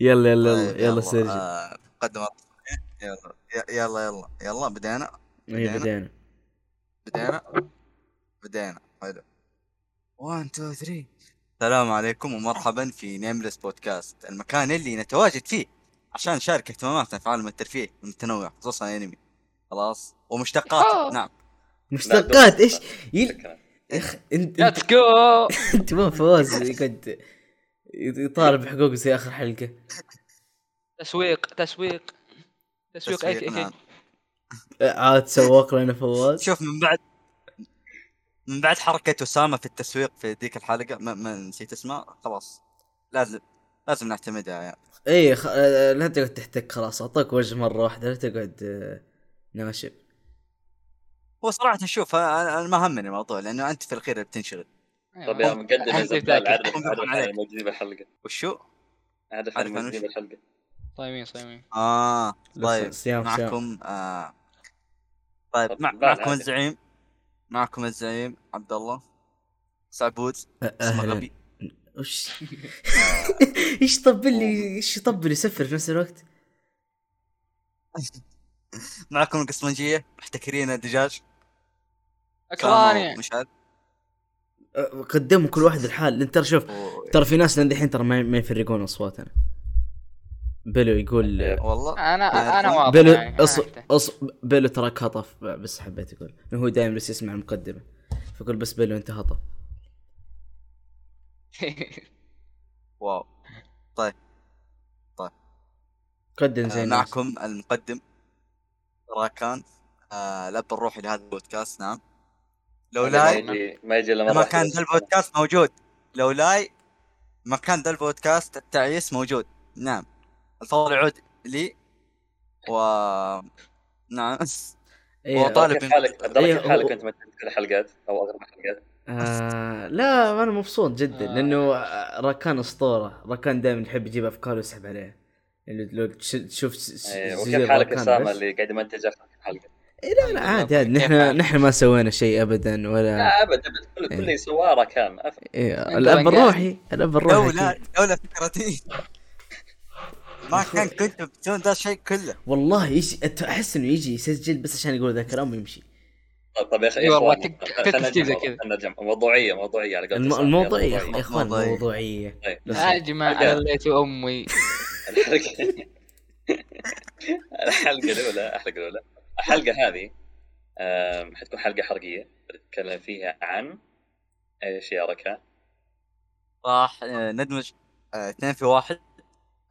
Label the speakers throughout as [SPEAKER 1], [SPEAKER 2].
[SPEAKER 1] يلا يلا
[SPEAKER 2] طيب،
[SPEAKER 1] يلا يلا سيرجي
[SPEAKER 2] آه، قدم الرسمين. يلا ي- يلا يلا يلا بدينا
[SPEAKER 1] اي
[SPEAKER 2] بدينا.
[SPEAKER 1] إيه، بدينا
[SPEAKER 2] بدينا بدينا حلو 1 2 3 السلام عليكم ومرحبا في نيمليس بودكاست المكان اللي نتواجد فيه عشان نشارك اهتماماتنا في عالم الترفيه المتنوع خصوصا الانمي خلاص ومشتقاته
[SPEAKER 3] يوهو.
[SPEAKER 2] نعم
[SPEAKER 1] مشتقات ايش يل...
[SPEAKER 4] شكرا
[SPEAKER 1] يخ... انت انت,
[SPEAKER 3] ليتس جو
[SPEAKER 1] انت ما فواز يقعد يطالب حقوقه زي اخر حلقه
[SPEAKER 3] تسويق تسويق تسويق اي
[SPEAKER 2] تسويق،
[SPEAKER 3] اي
[SPEAKER 2] نعم.
[SPEAKER 1] آه، عاد سواق لنا فواز
[SPEAKER 2] شوف من بعد من بعد حركة أسامة في التسويق في ذيك الحلقة ما, ما نسيت اسمها خلاص لازم لازم نعتمدها يعني
[SPEAKER 1] اي خ... آه، لا تقعد تحتك خلاص اعطاك وجه مره واحده لا تقعد آه، ناشف
[SPEAKER 2] هو صراحة شوف أنا أنا ما همني الموضوع لأنه أنت في الأخير اللي بتنشغل
[SPEAKER 4] طب يا مقدم يا
[SPEAKER 3] حسيت
[SPEAKER 4] زبال
[SPEAKER 3] ذاك.
[SPEAKER 4] عرف عرف عن الموجودين بالحلقه
[SPEAKER 2] وشو؟ عارف
[SPEAKER 4] عرف عن
[SPEAKER 2] عن
[SPEAKER 4] الموجودين
[SPEAKER 2] وش؟
[SPEAKER 4] بالحلقه
[SPEAKER 3] صايمين صايمين
[SPEAKER 2] آه
[SPEAKER 1] صيام
[SPEAKER 2] طيب
[SPEAKER 1] صيام
[SPEAKER 2] معكم آه طيب
[SPEAKER 4] طب
[SPEAKER 2] مع...
[SPEAKER 4] لا،
[SPEAKER 2] معكم
[SPEAKER 4] لا.
[SPEAKER 2] الزعيم معكم الزعيم عبد الله سعبود
[SPEAKER 1] أ-
[SPEAKER 2] اسمه
[SPEAKER 1] اهلا
[SPEAKER 2] غبي
[SPEAKER 1] وش ايش طبل لي ايش يطبل يسفر في نفس الوقت
[SPEAKER 2] معكم القسمنجية محتكرين الدجاج
[SPEAKER 3] اكراني
[SPEAKER 2] مش عارف
[SPEAKER 1] آه، قدموا كل واحد الحال لان ترى شوف
[SPEAKER 2] و-
[SPEAKER 1] ترى في ناس لين دحين ترى ما ما يفرقون اصواتنا بلو يقول آه،
[SPEAKER 2] والله
[SPEAKER 3] انا انا واضح
[SPEAKER 1] بلو
[SPEAKER 3] يعني، أنا
[SPEAKER 1] أص...
[SPEAKER 3] عرفته.
[SPEAKER 1] أص... بلو تراك هطف بس حبيت اقول إنه هو دائما بس يسمع المقدمه فقول بس بلو انت هطف
[SPEAKER 2] واو
[SPEAKER 1] قدم
[SPEAKER 2] آه
[SPEAKER 1] زين
[SPEAKER 2] معكم المقدم راكان آه الاب الروحي لهذا البودكاست نعم
[SPEAKER 4] ما
[SPEAKER 2] لولاي
[SPEAKER 4] يجي ما يجي الا مره
[SPEAKER 2] ما كان
[SPEAKER 4] واحدة.
[SPEAKER 2] ذا البودكاست موجود لولاي ما كان ذا البودكاست التعيس موجود نعم الفضل يعود لي و نعم
[SPEAKER 1] إيه،
[SPEAKER 2] وطالب
[SPEAKER 4] أدرك حالك
[SPEAKER 1] إيه،
[SPEAKER 4] أدرك
[SPEAKER 1] هو-
[SPEAKER 4] حالك انت ما تنزل كل الحلقات او اغلب الحلقات
[SPEAKER 1] آه... لا انا مبسوط جدا
[SPEAKER 3] آه.
[SPEAKER 1] لانه آه، راكان اسطوره راكان دائما يحب يجيب افكار ويسحب عليها يعني لو تش- تشوف س- س-
[SPEAKER 4] إيه،
[SPEAKER 1] زي
[SPEAKER 4] وكيف حالك
[SPEAKER 1] راكان
[SPEAKER 4] اسامه
[SPEAKER 1] بس.
[SPEAKER 4] اللي قاعد يمنتج اخر حلقه
[SPEAKER 1] إيه، لا لا عادي عادي نحن نحن ما سوينا شيء ابدا ولا
[SPEAKER 4] لا ابد ابد كل كل اللي سواه راكان أف-
[SPEAKER 1] إيه
[SPEAKER 3] أنت
[SPEAKER 1] الاب
[SPEAKER 3] رجال.
[SPEAKER 1] الروحي الاب الروحي
[SPEAKER 2] لولا
[SPEAKER 1] أكيد.
[SPEAKER 2] لولا فكرتي ما كان كنت بتسوون ذا الشيء كله
[SPEAKER 1] والله يجي أت- احس انه يجي يسجل بس عشان يقول ذا الكلام ويمشي
[SPEAKER 4] طب- طب يا اخي
[SPEAKER 3] إي إيه والله،
[SPEAKER 4] إخواني،
[SPEAKER 3] تك-
[SPEAKER 4] خلنا
[SPEAKER 3] تكتب زي
[SPEAKER 4] نرجع موضوع-
[SPEAKER 3] كذا.
[SPEAKER 4] خلنا نرجع موضوعيه موضوعيه على قولة
[SPEAKER 1] الم...
[SPEAKER 4] أسامة، يلا،
[SPEAKER 1] الموضوعية يا
[SPEAKER 4] موضوعية.
[SPEAKER 1] اخوان
[SPEAKER 2] موضوعية.
[SPEAKER 1] الموضوعية
[SPEAKER 4] طيب.
[SPEAKER 3] يا جماعه
[SPEAKER 4] أجل.
[SPEAKER 3] ليت امي
[SPEAKER 4] الحلقة- الحلقه الاولى الحلقه الاولى الحلقه هذه آم، حتكون حلقه حرقيه بنتكلم فيها عن ايش يا ركان؟
[SPEAKER 2] راح آه، ندمج آه، اثنين في واحد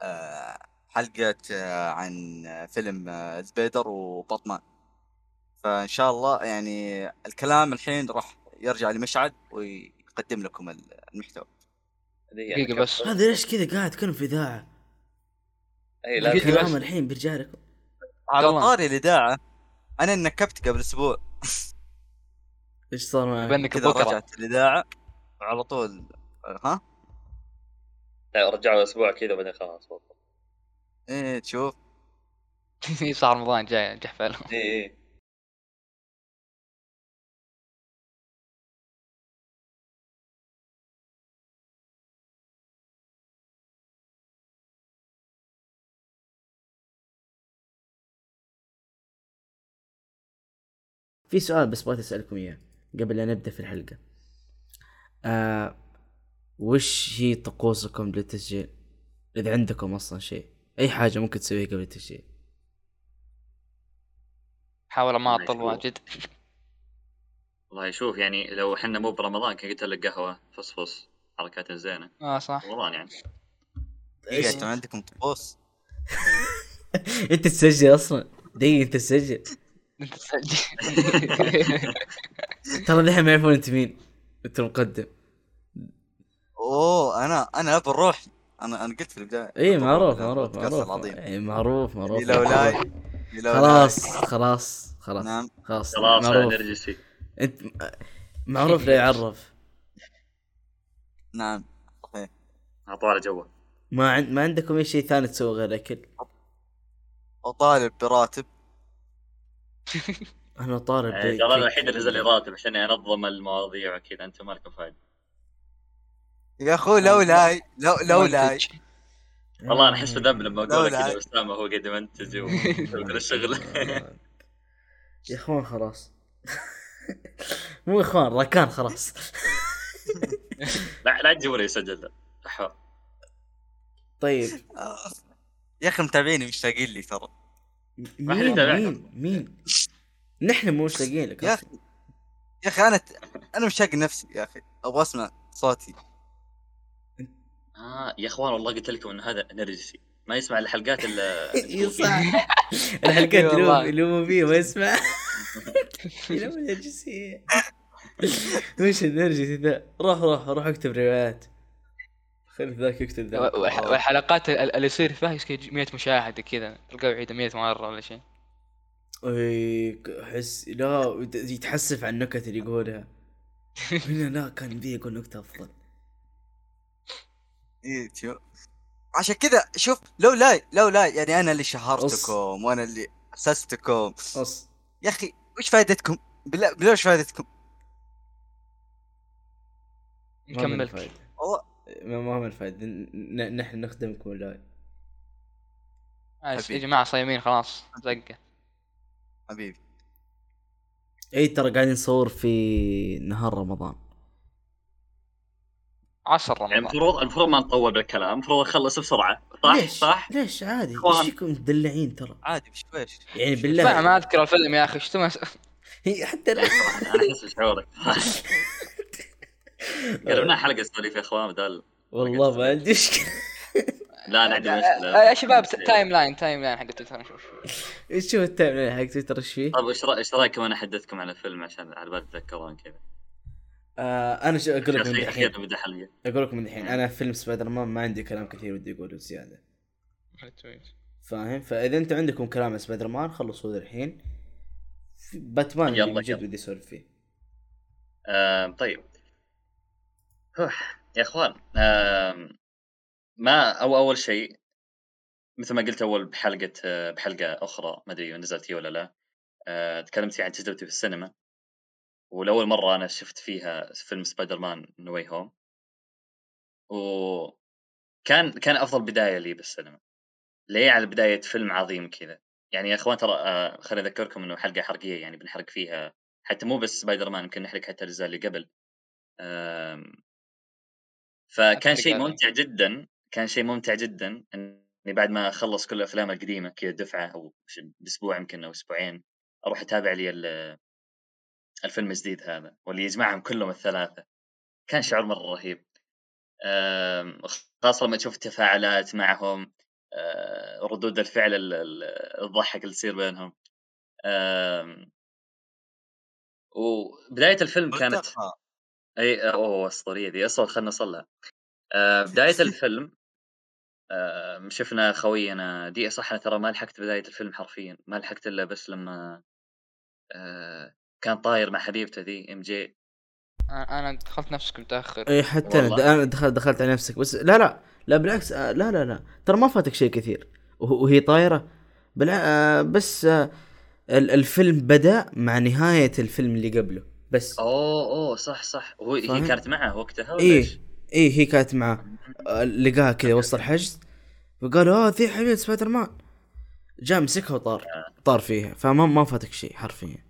[SPEAKER 2] آه، حلقة آه، عن آه، فيلم آه، سبيدر وباتمان فإن شاء الله يعني الكلام الحين راح يرجع لمشعل ويقدم لكم ال- المحتوى
[SPEAKER 4] هذه
[SPEAKER 3] دقيقة
[SPEAKER 4] يعني
[SPEAKER 3] بس.
[SPEAKER 4] كم-
[SPEAKER 1] هذا ليش كذا قاعد كلهم في اذاعة
[SPEAKER 4] اي إيه، لا
[SPEAKER 3] دقيقة
[SPEAKER 1] الكلام
[SPEAKER 3] بس.
[SPEAKER 1] الحين بيرجع لكم
[SPEAKER 2] على
[SPEAKER 3] يلا.
[SPEAKER 2] طاري الإذاعة أنا نكبت قبل أسبوع
[SPEAKER 1] ايش صار معك؟
[SPEAKER 3] بنك
[SPEAKER 2] كذا
[SPEAKER 3] بكره
[SPEAKER 2] رجعت الإذاعة وعلى طول آه، ها
[SPEAKER 4] لا، رجعوا اسبوع كذا وبعدين خلاص والله.
[SPEAKER 2] إيه تشوف
[SPEAKER 3] صار رمضان جاي جحفل
[SPEAKER 4] اي اي
[SPEAKER 1] في سؤال بس بغيت اسالكم اياه قبل لا نبدا في الحلقة. آه... وش هي طقوسكم للتسجيل؟ اذا عندكم اصلا شيء، اي حاجة ممكن تسويها قبل التسجيل.
[SPEAKER 3] حاول ما اطل
[SPEAKER 4] مشروع.
[SPEAKER 3] واجد
[SPEAKER 4] والله شوف يعني لو احنا مو برمضان كان قلت لك قهوه فصفص حركات زينه
[SPEAKER 3] اه صح
[SPEAKER 4] رمضان يعني
[SPEAKER 2] دقيقة أنتم عندكم طقوس
[SPEAKER 1] انت تسجل اصلا؟ دقيقة انت تسجل.
[SPEAKER 3] انت تسجل
[SPEAKER 1] ترى دحين ما يعرفون انت مين. انت المقدم.
[SPEAKER 2] أوه أنا أنا أبو الروح أنا أنا قلت في البداية
[SPEAKER 1] اي إيه، معروف معروف
[SPEAKER 2] البودكاست
[SPEAKER 1] معروف.
[SPEAKER 2] العظيم.
[SPEAKER 1] اي معروف معروف.
[SPEAKER 2] لولاي لولاي.
[SPEAKER 1] خلاص خلاص خلاص
[SPEAKER 2] نعم
[SPEAKER 1] خلاص
[SPEAKER 4] خلاص
[SPEAKER 1] معروف
[SPEAKER 4] نرجسي
[SPEAKER 1] انت معروف لا يعرف
[SPEAKER 2] نعم صحيح
[SPEAKER 4] اعطوها جوه
[SPEAKER 1] ما عند ما عندكم اي شيء ثاني تسوي غير اكل
[SPEAKER 2] وطالب براتب
[SPEAKER 1] انا طالب
[SPEAKER 4] يعني
[SPEAKER 1] بي-
[SPEAKER 4] ترى
[SPEAKER 1] كي-
[SPEAKER 4] انا الوحيد اللي نزل الراتب عشان انظم المواضيع وكذا انتم ما لكم فايده
[SPEAKER 2] يا اخو لولاي لو لولاي
[SPEAKER 3] منتج.
[SPEAKER 4] والله انا احس بالذنب لما اقول لك
[SPEAKER 2] لا، لا.
[SPEAKER 4] كذا اسامه هو قاعد يمنتج و- ويقول الشغل
[SPEAKER 1] يا اخوان خلاص مو اخوان راكان خلاص
[SPEAKER 4] لا لا تجيبوا لي يسجل ذا. أحوال.
[SPEAKER 1] طيب
[SPEAKER 2] آه. يا اخي متابعيني مشتاقين لي ترى
[SPEAKER 4] ما حد يتابعنا.
[SPEAKER 1] مين مين مين نحن مو مشتاقين لك
[SPEAKER 2] يا
[SPEAKER 1] أصلاً.
[SPEAKER 2] يا اخي انا انا مشتاق نفسي يا اخي ابغى اسمع صوتي
[SPEAKER 4] اه يا اخوان والله قلت لكم ان هذا نرجسي ما يسمع الحلقات الا
[SPEAKER 1] إي صح الحلقات
[SPEAKER 3] إي والله.
[SPEAKER 1] يلوم يلوموا فيه ما يسمع يلوم النرجسية وش النرجسي ذا؟ روح روح روح اكتب روايات خلي ذاك يكتب ذاك
[SPEAKER 3] والح- والحلقات ال- اللي يصير فيها يسكي 100 مشاهده كذا تلقاه يعيدها 100 مره ولا شيء
[SPEAKER 1] إي، ك- احس إيه، لا يت- يتحسف على النكت اللي يقولها هنا لا كان بي يقول نكته افضل
[SPEAKER 2] إيه، شوف. عشان كذا شوف لو لا لو لا يعني انا اللي
[SPEAKER 1] أص.
[SPEAKER 2] شهرتكم وانا اللي اسستكم
[SPEAKER 1] قص
[SPEAKER 2] يا اخي وش فائدتكم؟ بالله بالله وش فائدتكم؟
[SPEAKER 1] ما من
[SPEAKER 3] نكمل
[SPEAKER 1] الفائدة.
[SPEAKER 2] والله
[SPEAKER 1] ما ما من الفائده ن- ن- نحن نخدمكم ولا
[SPEAKER 3] آه، يا
[SPEAKER 2] حبيبي.
[SPEAKER 3] جماعه صايمين خلاص زقه
[SPEAKER 2] حبيبي
[SPEAKER 1] اي إيه، ترى قاعدين نصور في نهار رمضان
[SPEAKER 3] عصر
[SPEAKER 4] يعني
[SPEAKER 3] رمضان
[SPEAKER 4] المفروض المفروض ما نطول بالكلام المفروض نخلص بسرعه صح
[SPEAKER 1] ليش؟
[SPEAKER 4] صح
[SPEAKER 1] ليش عادي
[SPEAKER 4] إخوان.
[SPEAKER 1] ايش فيكم مدلعين ترى
[SPEAKER 2] عادي بشويش
[SPEAKER 1] يعني بالله
[SPEAKER 3] ما ما اذكر الفيلم يا اخي شو تمس-
[SPEAKER 1] هي حتى انا
[SPEAKER 4] انا احس بشعورك قلبناها حلقه سواليف يا اخوان بدل
[SPEAKER 1] والله ما عندي مشكله
[SPEAKER 4] لا طيب، انا عندي مشكله
[SPEAKER 3] آه، يا شباب ت- تايم لاين تايم لاين حق تويتر نشوف
[SPEAKER 1] شوف التايم لاين حق تويتر ايش فيه؟
[SPEAKER 4] طيب ايش رأي- ايش رايكم انا احدثكم على فيلم عشان على بال تتذكرون كذا
[SPEAKER 1] آه انا شو اقول لكم من
[SPEAKER 4] اخيرا
[SPEAKER 1] الحين
[SPEAKER 4] أخيراً بدا حلقه
[SPEAKER 1] اقول لكم من الحين انا فيلم سبايدر مان ما عندي كلام كثير ودي اقوله زياده فاهم فاذا انتم عندكم كلام عن سبايدر مان خلصوا ذا الحين في باتمان
[SPEAKER 4] يلا،
[SPEAKER 1] اللي
[SPEAKER 4] يلا.
[SPEAKER 1] بجد ودي اسولف فيه
[SPEAKER 4] آم، طيب هوح. يا اخوان آم، ما او اول شيء مثل ما قلت اول بحلقه آه، بحلقه اخرى ما ادري نزلت هي ولا لا آه، تكلمت فيها عن تجربتي في السينما ولاول مره انا شفت فيها فيلم سبايدر مان نو واي هوم وكان كان افضل بدايه لي بالسينما ليه على بدايه فيلم عظيم كذا يعني يا اخوان ترى آه، خليني اذكركم انه حلقه حرقيه يعني بنحرق فيها حتى مو بس سبايدر مان يمكن نحرق حتى الاجزاء اللي قبل آم، فكان
[SPEAKER 3] أتفق
[SPEAKER 4] شيء
[SPEAKER 3] عليك.
[SPEAKER 4] ممتع جدا كان شيء ممتع جدا اني بعد ما اخلص كل الافلام القديمه كذا دفعه او ش- باسبوع يمكن او اسبوعين اروح اتابع لي ال- الفيلم الجديد هذا واللي يجمعهم كلهم الثلاثه كان شعور مره رهيب آم، خاصه لما تشوف التفاعلات معهم آه، ردود الفعل ال- ال- الضحك اللي تصير بينهم آم، وبدايه الفيلم كانت
[SPEAKER 2] ملتقى.
[SPEAKER 4] اي اوه اسطوريه ذي اصلا خلنا نصلها آه بدايه الفيلم آه شفنا خوينا دي صح انا ترى ما لحقت بدايه الفيلم حرفيا ما لحقت الا بس لما آه كان طاير مع حبيبته ذي ام جي
[SPEAKER 3] انا أنا دخلت نفسك متاخر
[SPEAKER 1] اي إيه، حتى انا
[SPEAKER 4] والله.
[SPEAKER 1] انا دخلت دخلت على نفسك بس لا لا لا بالعكس آه، لا لا لا ترى ما فاتك شيء كثير وه- وهي طايره بلا آه، بس آه، ال- الفيلم بدا مع نهايه الفيلم اللي قبله بس
[SPEAKER 4] اوه اوه صح صح هو
[SPEAKER 1] فاهم؟
[SPEAKER 4] هي كانت معه وقتها ولا
[SPEAKER 1] إيه.
[SPEAKER 4] ايش؟
[SPEAKER 1] اي هي كانت معاه آه، لقاها كذا وسط الحجز فقال اه ذي حبيبه سبايدر مان جاء مسكها وطار
[SPEAKER 4] آه.
[SPEAKER 1] طار فيها فما ما فاتك شيء حرفيا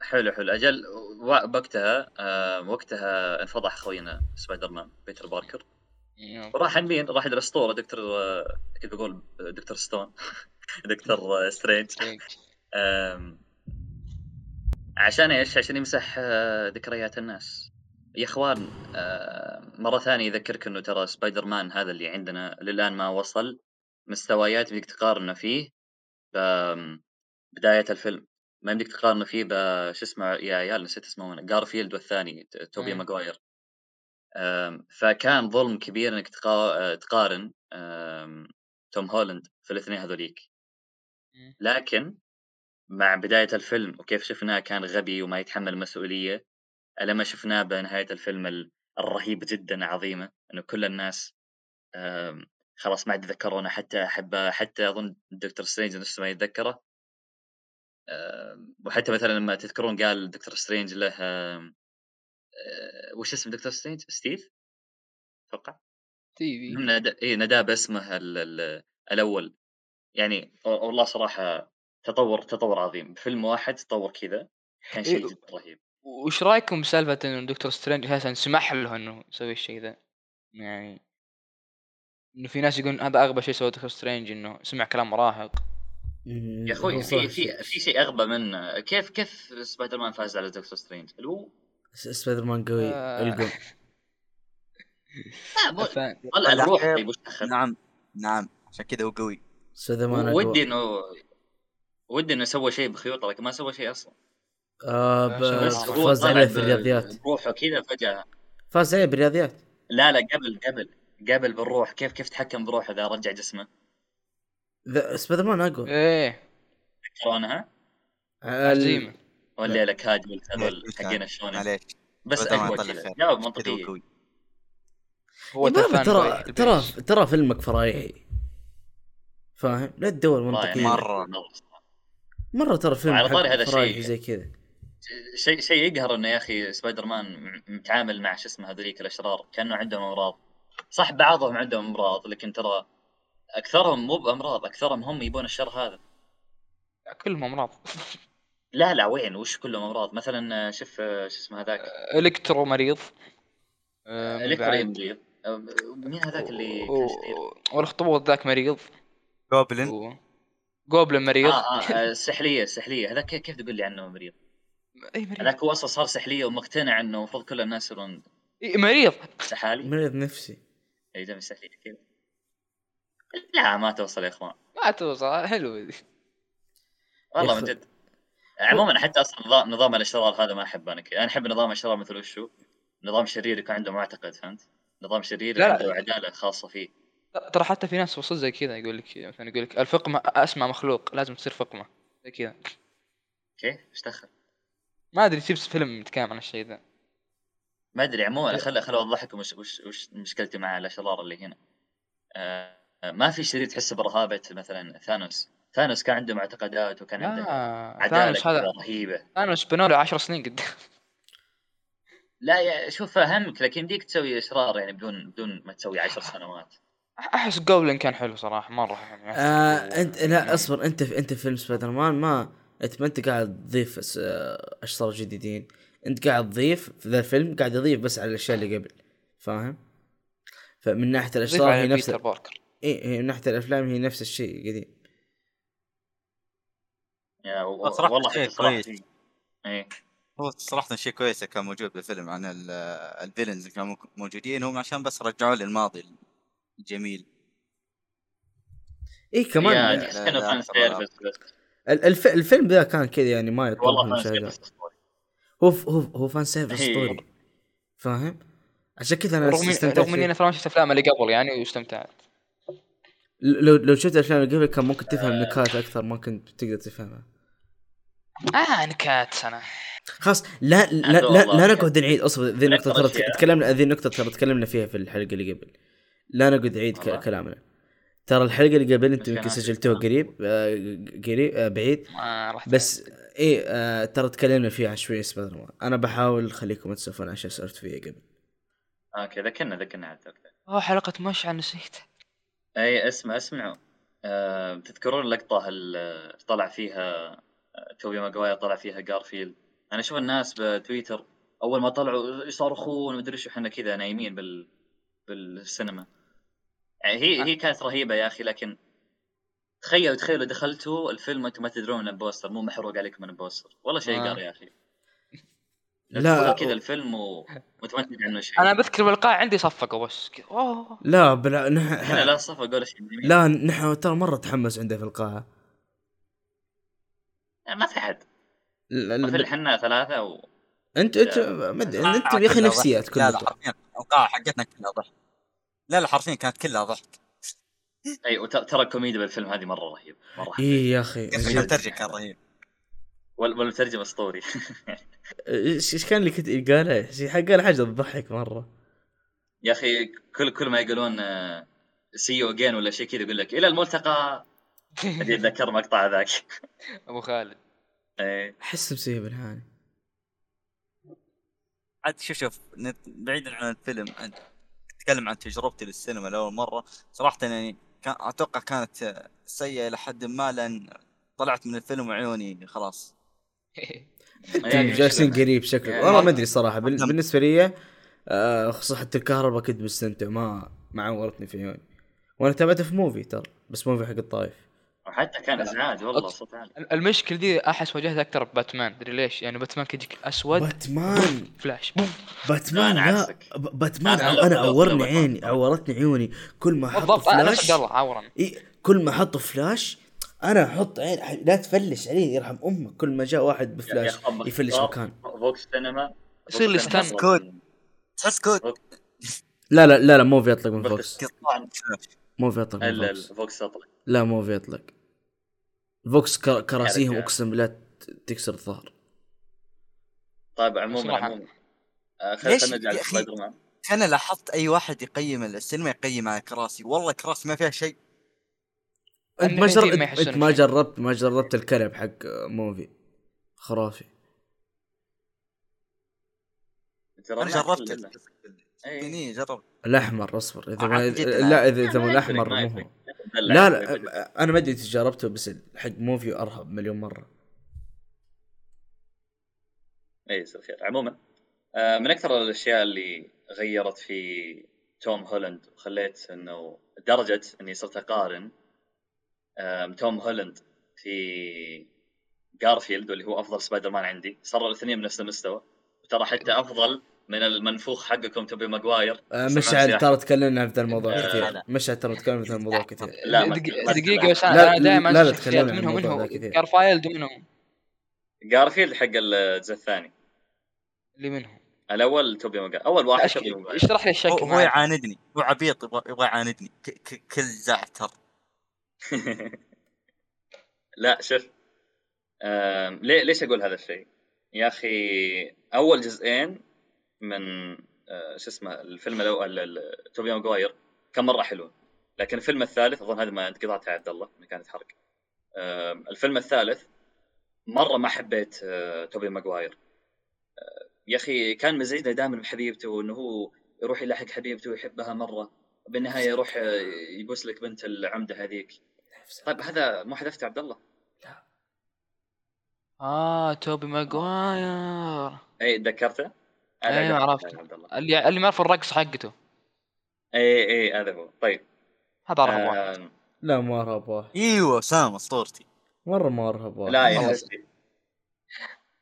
[SPEAKER 4] حلو حلو اجل و- وقتها آه وقتها انفضح خوينا سبايدر مان بيتر باركر وراح عند مين؟ راح عند الاسطوره دكتور آه، كنت بقول دكتور ستون دكتور آه، سترينج أم، عشان ايش؟ عشان يمسح آه، ذكريات الناس. يا اخوان آه، مره ثانيه يذكرك انه ترى سبايدر مان هذا اللي عندنا للان ما وصل مستويات بدك تقارنه فيه بداية الفيلم ما يمديك تقارنه فيه بش اسمه يا عيال نسيت اسمه انا جارفيلد والثاني ت- توبي
[SPEAKER 3] مم.
[SPEAKER 4] ماجواير أم، فكان ظلم كبير انك تقا- آه، تقارن أم، توم هولاند في الاثنين هذوليك
[SPEAKER 3] مم.
[SPEAKER 4] لكن مع بداية الفيلم وكيف شفناه كان غبي وما يتحمل مسؤولية لما شفناه بنهاية الفيلم ال- الرهيبة جدا عظيمة انه كل الناس أم، خلاص ما عاد يتذكرونه حتى احبه حتى اظن دكتور سترينج نفسه ما يتذكره أم، وحتى مثلا لما تذكرون قال دكتور سترينج له آه، أم، أه، وش اسم دكتور سترينج؟ ستيف؟ اتوقع
[SPEAKER 3] تي في
[SPEAKER 4] نادى إيه ناداه باسمه ال- ال- الاول يعني والله صراحه تطور تطور عظيم فيلم واحد تطور كذا كان شيء
[SPEAKER 3] إيه.
[SPEAKER 4] جدا رهيب
[SPEAKER 3] وش رايكم بسالفه انه دكتور سترينج اساسا سمح له انه يسوي الشيء ذا يعني انه في ناس يقولون هذا اغبى شيء سواه دكتور سترينج انه سمع كلام مراهق
[SPEAKER 4] يا اخوي في في في شيء اغبى منه كيف كيف سبايدر مان فاز على دكتور سترينج اللي هو
[SPEAKER 1] سبايدر مان قوي
[SPEAKER 3] آه.
[SPEAKER 1] القم
[SPEAKER 4] لا، مو-
[SPEAKER 3] ف...
[SPEAKER 4] طلع الروح
[SPEAKER 2] طلع.
[SPEAKER 4] طيب وش دخل
[SPEAKER 2] نعم نعم عشان كذا هو قوي
[SPEAKER 1] سبايدر مان أقوى.
[SPEAKER 4] ودي انه ودي انه سوى شيء بخيوط لكن ما سوى شيء اصلا
[SPEAKER 1] آه ب-
[SPEAKER 4] بس هو
[SPEAKER 1] فاز
[SPEAKER 4] طلع
[SPEAKER 1] عليه في
[SPEAKER 4] ب-
[SPEAKER 1] الرياضيات
[SPEAKER 4] بروحه كذا فجاه
[SPEAKER 1] فاز عليه بالرياضيات
[SPEAKER 4] لا لا قبل قبل قبل بالروح كيف كيف تحكم بروحه اذا رجع جسمه
[SPEAKER 1] ذا- سبايدر مان اقوى
[SPEAKER 3] ايه
[SPEAKER 4] تذكرونها
[SPEAKER 1] ال-
[SPEAKER 3] عزيمه
[SPEAKER 4] ولا لك هاجم هذول
[SPEAKER 2] معليش،
[SPEAKER 4] حقين الشونين
[SPEAKER 2] معليش
[SPEAKER 4] بس يعني.
[SPEAKER 2] سبايدر مان
[SPEAKER 4] اقوى
[SPEAKER 2] طلع
[SPEAKER 4] كذا
[SPEAKER 2] خير.
[SPEAKER 4] جواب
[SPEAKER 2] كذا هو
[SPEAKER 4] منطقيه
[SPEAKER 2] قوي
[SPEAKER 3] هو
[SPEAKER 1] يا بابا
[SPEAKER 3] تفان
[SPEAKER 1] ترى
[SPEAKER 3] فايح
[SPEAKER 1] ترى
[SPEAKER 3] البيش.
[SPEAKER 1] ترى فيلمك فرايحي فاهم لا تدور
[SPEAKER 4] رائع،
[SPEAKER 1] منطقيا مرة,
[SPEAKER 2] مرة.
[SPEAKER 1] مرة ترى فيلم
[SPEAKER 4] وعلى طيب، طاري
[SPEAKER 1] حق
[SPEAKER 4] هذا الشيء-
[SPEAKER 1] فرايحي زي كذا
[SPEAKER 4] شيء شيء يقهر انه يا اخي سبايدر مان م- متعامل مع شو اسمه هذوليك الاشرار كانه عندهم امراض صح بعضهم عندهم امراض لكن ترى اكثرهم مو بامراض اكثرهم هم يبون الشر هذا
[SPEAKER 3] كلهم امراض
[SPEAKER 4] لا لا وين وش كلهم امراض مثلا شوف آه، شو اسمه هذاك
[SPEAKER 3] الكترو مريض آه، من
[SPEAKER 4] الكترا
[SPEAKER 3] بعد.
[SPEAKER 4] يمضي آه، مين هذاك اللي
[SPEAKER 3] و-
[SPEAKER 4] كان شرير؟
[SPEAKER 3] والاخطبوط ذاك مريض
[SPEAKER 2] جوبلن
[SPEAKER 3] و... جوبلن مريض
[SPEAKER 4] اه اه السحليه السحليه هذاك كيف تقول لي عنه مريض؟
[SPEAKER 3] اي مريض
[SPEAKER 4] هذاك هو اصلا صار سحليه ومقتنع انه المفروض كل الناس يصيرون
[SPEAKER 3] إي مريض
[SPEAKER 4] سحالي
[SPEAKER 1] مريض نفسي
[SPEAKER 4] اي دم سحليه إيه، كذا لا ما توصل يا اخوان
[SPEAKER 3] ما توصل حلو ذي
[SPEAKER 4] والله
[SPEAKER 1] يا
[SPEAKER 4] من
[SPEAKER 1] أخي.
[SPEAKER 4] جد عموما حتى اصلا نظام, نظام الاشرار هذا ما احبه انا ك- انا احب نظام الاشرار مثل وشو؟ نظام شرير يكون عنده معتقد فهمت؟ نظام شرير
[SPEAKER 3] لا، لا.
[SPEAKER 4] عنده عداله خاصه فيه
[SPEAKER 3] لا، ترى حتى في ناس وصل زي كذا يقول لك مثلا يقول لك الفقمه اسمع مخلوق لازم تصير فقمه زي كذا
[SPEAKER 4] كيف؟ ايش دخل؟
[SPEAKER 3] ما ادري تجيب فيلم متكامل عن الشيء ذا
[SPEAKER 4] ما ادري عموما خل خل اوضح لكم وش, وش, وش مشكلتي مع الاشرار اللي هنا. آه ما في شرير تحس برهابه مثلا ثانوس، ثانوس كان عنده معتقدات وكان عنده
[SPEAKER 3] لا
[SPEAKER 4] عداله
[SPEAKER 3] آه، ثانوس هذا
[SPEAKER 4] كذا رهيبه.
[SPEAKER 3] ثانوس بنوا له 10 سنين قدام
[SPEAKER 4] لا يا شوف فهمك لكن ديك تسوي اشرار يعني بدون بدون ما تسوي عشر سنوات.
[SPEAKER 3] احس جوبلن كان حلو صراحه مره يعني
[SPEAKER 1] آه انت لا اصبر انت في انت في فيلم سبايدر مان ما انت ما انت قاعد تضيف أس- آه، اشرار جديدين انت قاعد تضيف في ذا الفيلم قاعد يضيف بس على الاشياء اللي قبل فاهم فمن ناحيه
[SPEAKER 3] ضيف
[SPEAKER 1] الاشرار هي
[SPEAKER 3] على
[SPEAKER 1] نفس
[SPEAKER 3] بيتر باركر
[SPEAKER 1] اي هي من ناحيه الافلام هي نفس الشيء قديم
[SPEAKER 4] يا و-
[SPEAKER 2] صراحة شيء كويس.
[SPEAKER 4] ايه
[SPEAKER 2] هو صراحة شيء كويس كان موجود بالفيلم عن ال- الفيلنز اللي كانوا موجودين هم عشان بس رجعوه للماضي الجميل
[SPEAKER 1] اي كمان
[SPEAKER 4] يا
[SPEAKER 1] آه،
[SPEAKER 4] تحس
[SPEAKER 2] لا،
[SPEAKER 4] كانه
[SPEAKER 2] لا،
[SPEAKER 4] فان
[SPEAKER 2] ترى لا.
[SPEAKER 4] سيرفيس بس
[SPEAKER 1] ال- الف... الفيلم ذا كان كذا يعني ما يطلع
[SPEAKER 4] والله
[SPEAKER 1] من
[SPEAKER 4] فان
[SPEAKER 1] شيء
[SPEAKER 4] سيرفيس أسطوري.
[SPEAKER 1] هو ف... هو هو فان سيرفيس
[SPEAKER 4] إيه.
[SPEAKER 1] اسطوري فاهم عشان كذا انا
[SPEAKER 3] رغم
[SPEAKER 1] استمتعت
[SPEAKER 3] رغم اني
[SPEAKER 1] فيه.
[SPEAKER 3] انا ترى ما شفت افلام اللي قبل يعني واستمتعت
[SPEAKER 1] لو لو شفت الافلام اللي قبل كان ممكن تفهم نكات اكثر ما كنت تقدر تفهمها
[SPEAKER 4] آه،
[SPEAKER 3] اه نكات انا
[SPEAKER 1] خلاص لا لا
[SPEAKER 4] هذا
[SPEAKER 1] لا,
[SPEAKER 4] والله.
[SPEAKER 1] لا نقعد نعيد اصبر ذي النقطة ترى
[SPEAKER 4] أشياء.
[SPEAKER 1] تكلمنا ذي النقطة ترى تكلمنا فيها في الحلقة اللي قبل لا نقعد نعيد ك-
[SPEAKER 4] والله.
[SPEAKER 1] كلامنا ترى الحلقة اللي قبل انت
[SPEAKER 4] بس
[SPEAKER 1] يمكن
[SPEAKER 4] كان
[SPEAKER 1] سجلتوها
[SPEAKER 4] عندي.
[SPEAKER 1] قريب آه، قريب آه، بعيد
[SPEAKER 3] ما رحت
[SPEAKER 1] بس ايه آه، ترى تكلمنا فيها عن شوية سبايدر مان انا بحاول اخليكم تسولفون عن اشياء سولفت فيها قبل
[SPEAKER 4] اوكي ذكرنا ذكرنا على التوقيت.
[SPEAKER 3] اوه حلقه مشعل نسيت
[SPEAKER 4] اي اسمع اسمعوا أه تذكرون اللقطة اللي طلع فيها آه، توبي ماجواير طلع فيها جارفيلد انا اشوف الناس بتويتر اول ما طلعوا يصرخون ومدري شو احنا كذا نايمين بال بالسينما يعني هي هي كانت رهيبة يا اخي لكن تخيلوا تخيلوا دخلتوا الفيلم وانتم ما تدرون من البوستر مو محروق عليكم من البوستر والله شيء
[SPEAKER 1] آه.
[SPEAKER 4] قار يا اخي
[SPEAKER 1] لا
[SPEAKER 4] تدخلوا كذا الفيلم و- وانتم ما تدري عنه شيء
[SPEAKER 3] انا بذكر بالقاع عندي صفقه بس كذا، اوه
[SPEAKER 1] لا بلا
[SPEAKER 4] هنا
[SPEAKER 1] نحن
[SPEAKER 4] لا صفقة ولا شيء
[SPEAKER 1] لا نحن ترى مرة تحمس عنده في القاعة
[SPEAKER 4] ما في احد
[SPEAKER 1] لا- لا-
[SPEAKER 4] مثل حنا ثلاثة و...
[SPEAKER 1] انت انت ما أدري، انت يا اخي نفسيات
[SPEAKER 2] آه، لا آه.
[SPEAKER 1] كلها
[SPEAKER 2] لا حرفيا القاعة حقتنا كلها ضحك لا لا حرفيا كانت كلها ضحك
[SPEAKER 4] اي وت- ترى الكوميديا بالفيلم هذه مره رهيب مره رهيب.
[SPEAKER 1] ايه يا اخي
[SPEAKER 2] يا اخي
[SPEAKER 1] جد.
[SPEAKER 2] المترجم كان رهيب
[SPEAKER 4] وال- والمترجم اسطوري
[SPEAKER 1] ايش ايش كان اللي كنت قاله؟ شي- قال حاجه تضحك مره
[SPEAKER 4] يا اخي كل كل ما يقولون آه، سي يو اجين ولا شيء كذا يقول لك الى الملتقى هذه اتذكر مقطع ذاك إيه،
[SPEAKER 3] ابو خالد
[SPEAKER 4] إي.
[SPEAKER 1] احس مسوي بالهاني
[SPEAKER 2] عاد شوف شوف نت- بعيدا عن الفيلم انت اتكلم عن تجربتي للسينما لاول مره صراحه يعني كان اتوقع كانت سيئه الى حد ما لان طلعت من الفيلم وعيوني خلاص
[SPEAKER 3] يعني
[SPEAKER 1] جالسين
[SPEAKER 3] مشكلة.
[SPEAKER 1] قريب شكله
[SPEAKER 3] يعني
[SPEAKER 1] والله
[SPEAKER 2] مرة-
[SPEAKER 1] ما ادري صراحه بال- بالنسبه لي آه، خصوصا حتى الكهرباء كنت مستمتع ما ما عورتني في عيوني وانا تابعته في موفي ترى بس موفي حق الطايف
[SPEAKER 4] وحتى كان ازعاج والله صوت عالي
[SPEAKER 3] المشكله دي احس واجهتها اكثر باتمان تدري ليش؟ يعني باتمان كان يجيك اسود
[SPEAKER 1] باتمان
[SPEAKER 3] فلاش بوم
[SPEAKER 1] باتمان
[SPEAKER 4] أنا
[SPEAKER 1] لا
[SPEAKER 4] عكسك.
[SPEAKER 1] ب- باتمان
[SPEAKER 4] أنا-
[SPEAKER 1] انا
[SPEAKER 4] أنا-
[SPEAKER 1] عورني
[SPEAKER 4] أنا-
[SPEAKER 1] عيني عورتني عيوني كل ما احط
[SPEAKER 3] بالضبط انا نفس
[SPEAKER 1] فلاش
[SPEAKER 3] قال عورا
[SPEAKER 1] إي كل ما احط فلاش انا احط عين لا تفلش علي يرحم امك كل ما جاء واحد بفلاش يفلش مكان
[SPEAKER 4] فوكس سينما
[SPEAKER 3] يصير لي
[SPEAKER 4] فوكس
[SPEAKER 3] stun.
[SPEAKER 4] سينما.
[SPEAKER 2] تحس كود
[SPEAKER 1] لا لا لا لا موفي يطلق من فوكس
[SPEAKER 2] قطعاً.
[SPEAKER 1] موفي يطلق من
[SPEAKER 4] لا لا
[SPEAKER 1] فوكس
[SPEAKER 4] فوكس اطلق
[SPEAKER 1] لا موفي يطلق فوكس كر- كراسيهم
[SPEAKER 4] كاركتر.
[SPEAKER 1] اقسم بالله ت- تكسر الظهر
[SPEAKER 4] طيب عموما
[SPEAKER 3] صراحة.
[SPEAKER 4] عموما آه، خل-
[SPEAKER 2] ليش
[SPEAKER 4] خلنا نرجع
[SPEAKER 2] يا أخي؟
[SPEAKER 4] لسبايدر مان
[SPEAKER 2] انا لاحظت اي واحد يقيم السينما يقيم على كراسي والله كراسي ما فيها شيء
[SPEAKER 1] انت ما
[SPEAKER 3] النقدين
[SPEAKER 1] جربت
[SPEAKER 3] ما يحسون
[SPEAKER 1] انت ما
[SPEAKER 3] بشيء.
[SPEAKER 1] جربت ما جربت الكلب حق موفي خرافي
[SPEAKER 4] ترى
[SPEAKER 2] انا جربت
[SPEAKER 4] لا. إيه.
[SPEAKER 2] إيه، جربت
[SPEAKER 1] الاحمر اصبر اذا ما
[SPEAKER 2] عاد جدا.
[SPEAKER 1] لا اذا
[SPEAKER 4] لا،
[SPEAKER 1] اذا
[SPEAKER 4] ما
[SPEAKER 1] ما الاحمر
[SPEAKER 4] يفرق، ما
[SPEAKER 1] مو هو
[SPEAKER 4] يفرق.
[SPEAKER 1] لا لا انا ما ادري إذا جربته بس حق موفي ارهب مليون مره
[SPEAKER 4] اي إيه، يصير خير عموما آه، من اكثر الاشياء اللي غيرت في توم هولاند وخليت انه لدرجه اني صرت اقارن آم، توم هولاند في جارفيلد واللي هو افضل سبايدر مان عندي صاروا الاثنين بنفس المستوى وترى حتى افضل من المنفوخ حقكم توبي ماجواير
[SPEAKER 1] آه،
[SPEAKER 4] سمعت
[SPEAKER 1] مشعل
[SPEAKER 4] يا
[SPEAKER 1] ترى تكلمنا عن ذا الموضوع
[SPEAKER 4] لا،
[SPEAKER 1] كثير
[SPEAKER 2] لا.
[SPEAKER 1] مشعل ترى تكلمنا عن ذا الموضوع كثير
[SPEAKER 4] لا، ما-
[SPEAKER 3] دق-
[SPEAKER 4] ما-
[SPEAKER 3] دقيقه بس
[SPEAKER 1] لا،
[SPEAKER 3] انا دائما
[SPEAKER 1] لا، لا
[SPEAKER 3] شخصيات
[SPEAKER 1] تتكلمنا عن
[SPEAKER 3] منهم
[SPEAKER 1] الموضوع
[SPEAKER 3] منهم
[SPEAKER 1] ذا كثير.
[SPEAKER 3] كارفايلد ومنهم
[SPEAKER 4] جارفيلد حق الجزء الثاني
[SPEAKER 3] اللي منهم
[SPEAKER 4] الاول توبي ماجواير اول
[SPEAKER 3] لا،
[SPEAKER 4] واحد
[SPEAKER 3] أشك-
[SPEAKER 4] توبي ماجواير
[SPEAKER 3] اشرح
[SPEAKER 2] هو,
[SPEAKER 3] لي الشكل
[SPEAKER 2] هو
[SPEAKER 3] معي.
[SPEAKER 2] يعاندني هو عبيط يبغى يبغى يعاندني ك- ك- كل زعتر
[SPEAKER 4] لا شوف آم، ليه ليش اقول هذا الشيء؟ يا اخي اول جزئين من آه، شو اسمه الفيلم الاول ال- ال- توبي ماجواير كان مره حلو لكن الفيلم الثالث اظن هذا ما انت قطعتها يا عبد الله ما كانت حرق آم، الفيلم الثالث مره ما حبيت آه، توبي ماجواير آه، يا اخي كان مزعجنا دائما بحبيبته وانه هو يروح يلاحق حبيبته ويحبها مره بالنهايه يروح آه، يبوس لك بنت العمده هذيك طيب هذا مو حذفته يا عبد الله
[SPEAKER 3] اه توبي ماجواير
[SPEAKER 4] اي تذكرته؟ هذا
[SPEAKER 3] أيوة،
[SPEAKER 4] قاعد
[SPEAKER 3] عرفته.
[SPEAKER 4] يا عبد الله
[SPEAKER 3] اللي اللي ما يعرف الرقص حقته
[SPEAKER 4] اي اي هذا هو طيب
[SPEAKER 3] هذا رقم واحد
[SPEAKER 4] آم،
[SPEAKER 1] لا ما ارهب واحد
[SPEAKER 2] ايوه سام اسطورتي
[SPEAKER 1] مره ما ارهب واحد
[SPEAKER 4] لا يا
[SPEAKER 3] والله.
[SPEAKER 4] حبيبي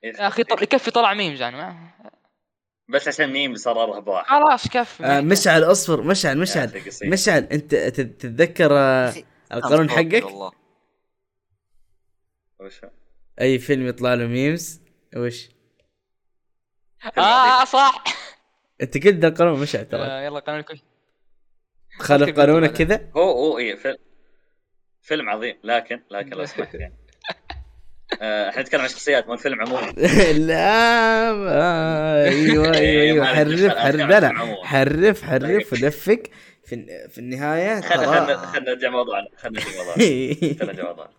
[SPEAKER 3] يا اخي طل... يكفي طلع ميمز يعني ما-
[SPEAKER 4] بس عشان ميم صار ارهب واحد
[SPEAKER 3] خلاص كفي
[SPEAKER 1] آه، مشعل اصبر مشعل
[SPEAKER 3] آه،
[SPEAKER 4] يا
[SPEAKER 1] مشعل
[SPEAKER 4] أخي قصير.
[SPEAKER 1] مشعل انت تت- تتذكر آه،
[SPEAKER 2] أخي،
[SPEAKER 1] القانون
[SPEAKER 2] سام أسطورتي
[SPEAKER 1] حقك
[SPEAKER 2] والله
[SPEAKER 4] وش هو؟
[SPEAKER 1] اي فيلم يطلع له ميمز وش
[SPEAKER 3] اه صح
[SPEAKER 1] انت قلت ده القانون مشعل ترى
[SPEAKER 3] آه، يلا قانون الكوش
[SPEAKER 1] خالف
[SPEAKER 3] أكتب
[SPEAKER 1] قانونك
[SPEAKER 3] بعدين.
[SPEAKER 1] كذا
[SPEAKER 4] هو هو اي فيلم فيلم عظيم لكن لكن لو سمحت يعني آه، احنا نتكلم عن شخصيات مو الفيلم عموما
[SPEAKER 1] لا ما- ايوه ايوه
[SPEAKER 4] إيه،
[SPEAKER 1] ايوه
[SPEAKER 4] معلش،
[SPEAKER 1] حرف
[SPEAKER 4] أنا
[SPEAKER 1] حرف
[SPEAKER 4] أتكلم
[SPEAKER 1] لا لا
[SPEAKER 4] عن عموما.
[SPEAKER 1] حرف حرف
[SPEAKER 4] طيب.
[SPEAKER 1] ولفك في الن- في النهايه
[SPEAKER 4] خلينا
[SPEAKER 1] ترى
[SPEAKER 4] خلينا- خلينا نرجع موضوعنا خلينا نرجع موضوعنا خلينا نرجع موضوعنا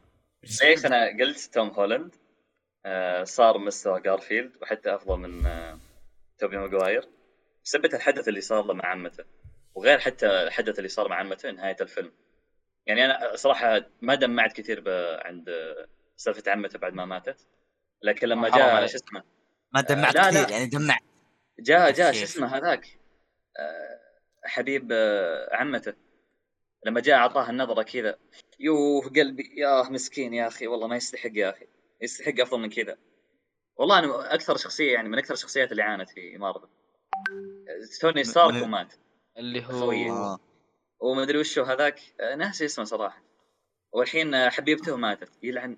[SPEAKER 4] ليش انا قلت توم هولاند آه، صار مستوى جارفيلد وحتى افضل من آه، توبي ماجواير بسبب الحدث اللي صار له مع عمته وغير حتى الحدث اللي صار مع عمته نهايه الفيلم يعني انا صراحه ما دمعت كثير ب- عند آه، سالفه عمته بعد ما ماتت لكن لما
[SPEAKER 3] حرام
[SPEAKER 4] جاء
[SPEAKER 3] عليك.
[SPEAKER 4] شو اسمه
[SPEAKER 2] ما دمعت
[SPEAKER 4] لا، لا.
[SPEAKER 2] كثير يعني دمعت
[SPEAKER 4] جاء جاء شو
[SPEAKER 2] شيخ.
[SPEAKER 4] اسمه هذاك آه، حبيب آه، عمته لما جاء اعطاها النظره كذا يوه قلبي ياه مسكين يا اخي والله ما يستحق يا اخي يستحق افضل من كذا والله انا اكثر شخصيه يعني من اكثر الشخصيات اللي عانت في مارفل توني ستارك
[SPEAKER 2] من-
[SPEAKER 4] ومات
[SPEAKER 3] اللي
[SPEAKER 4] خويي.
[SPEAKER 3] هو
[SPEAKER 2] آه.
[SPEAKER 4] وما ادري وشو هذاك آه، ناسي اسمه صراحه والحين آه، حبيبته ماتت يلعن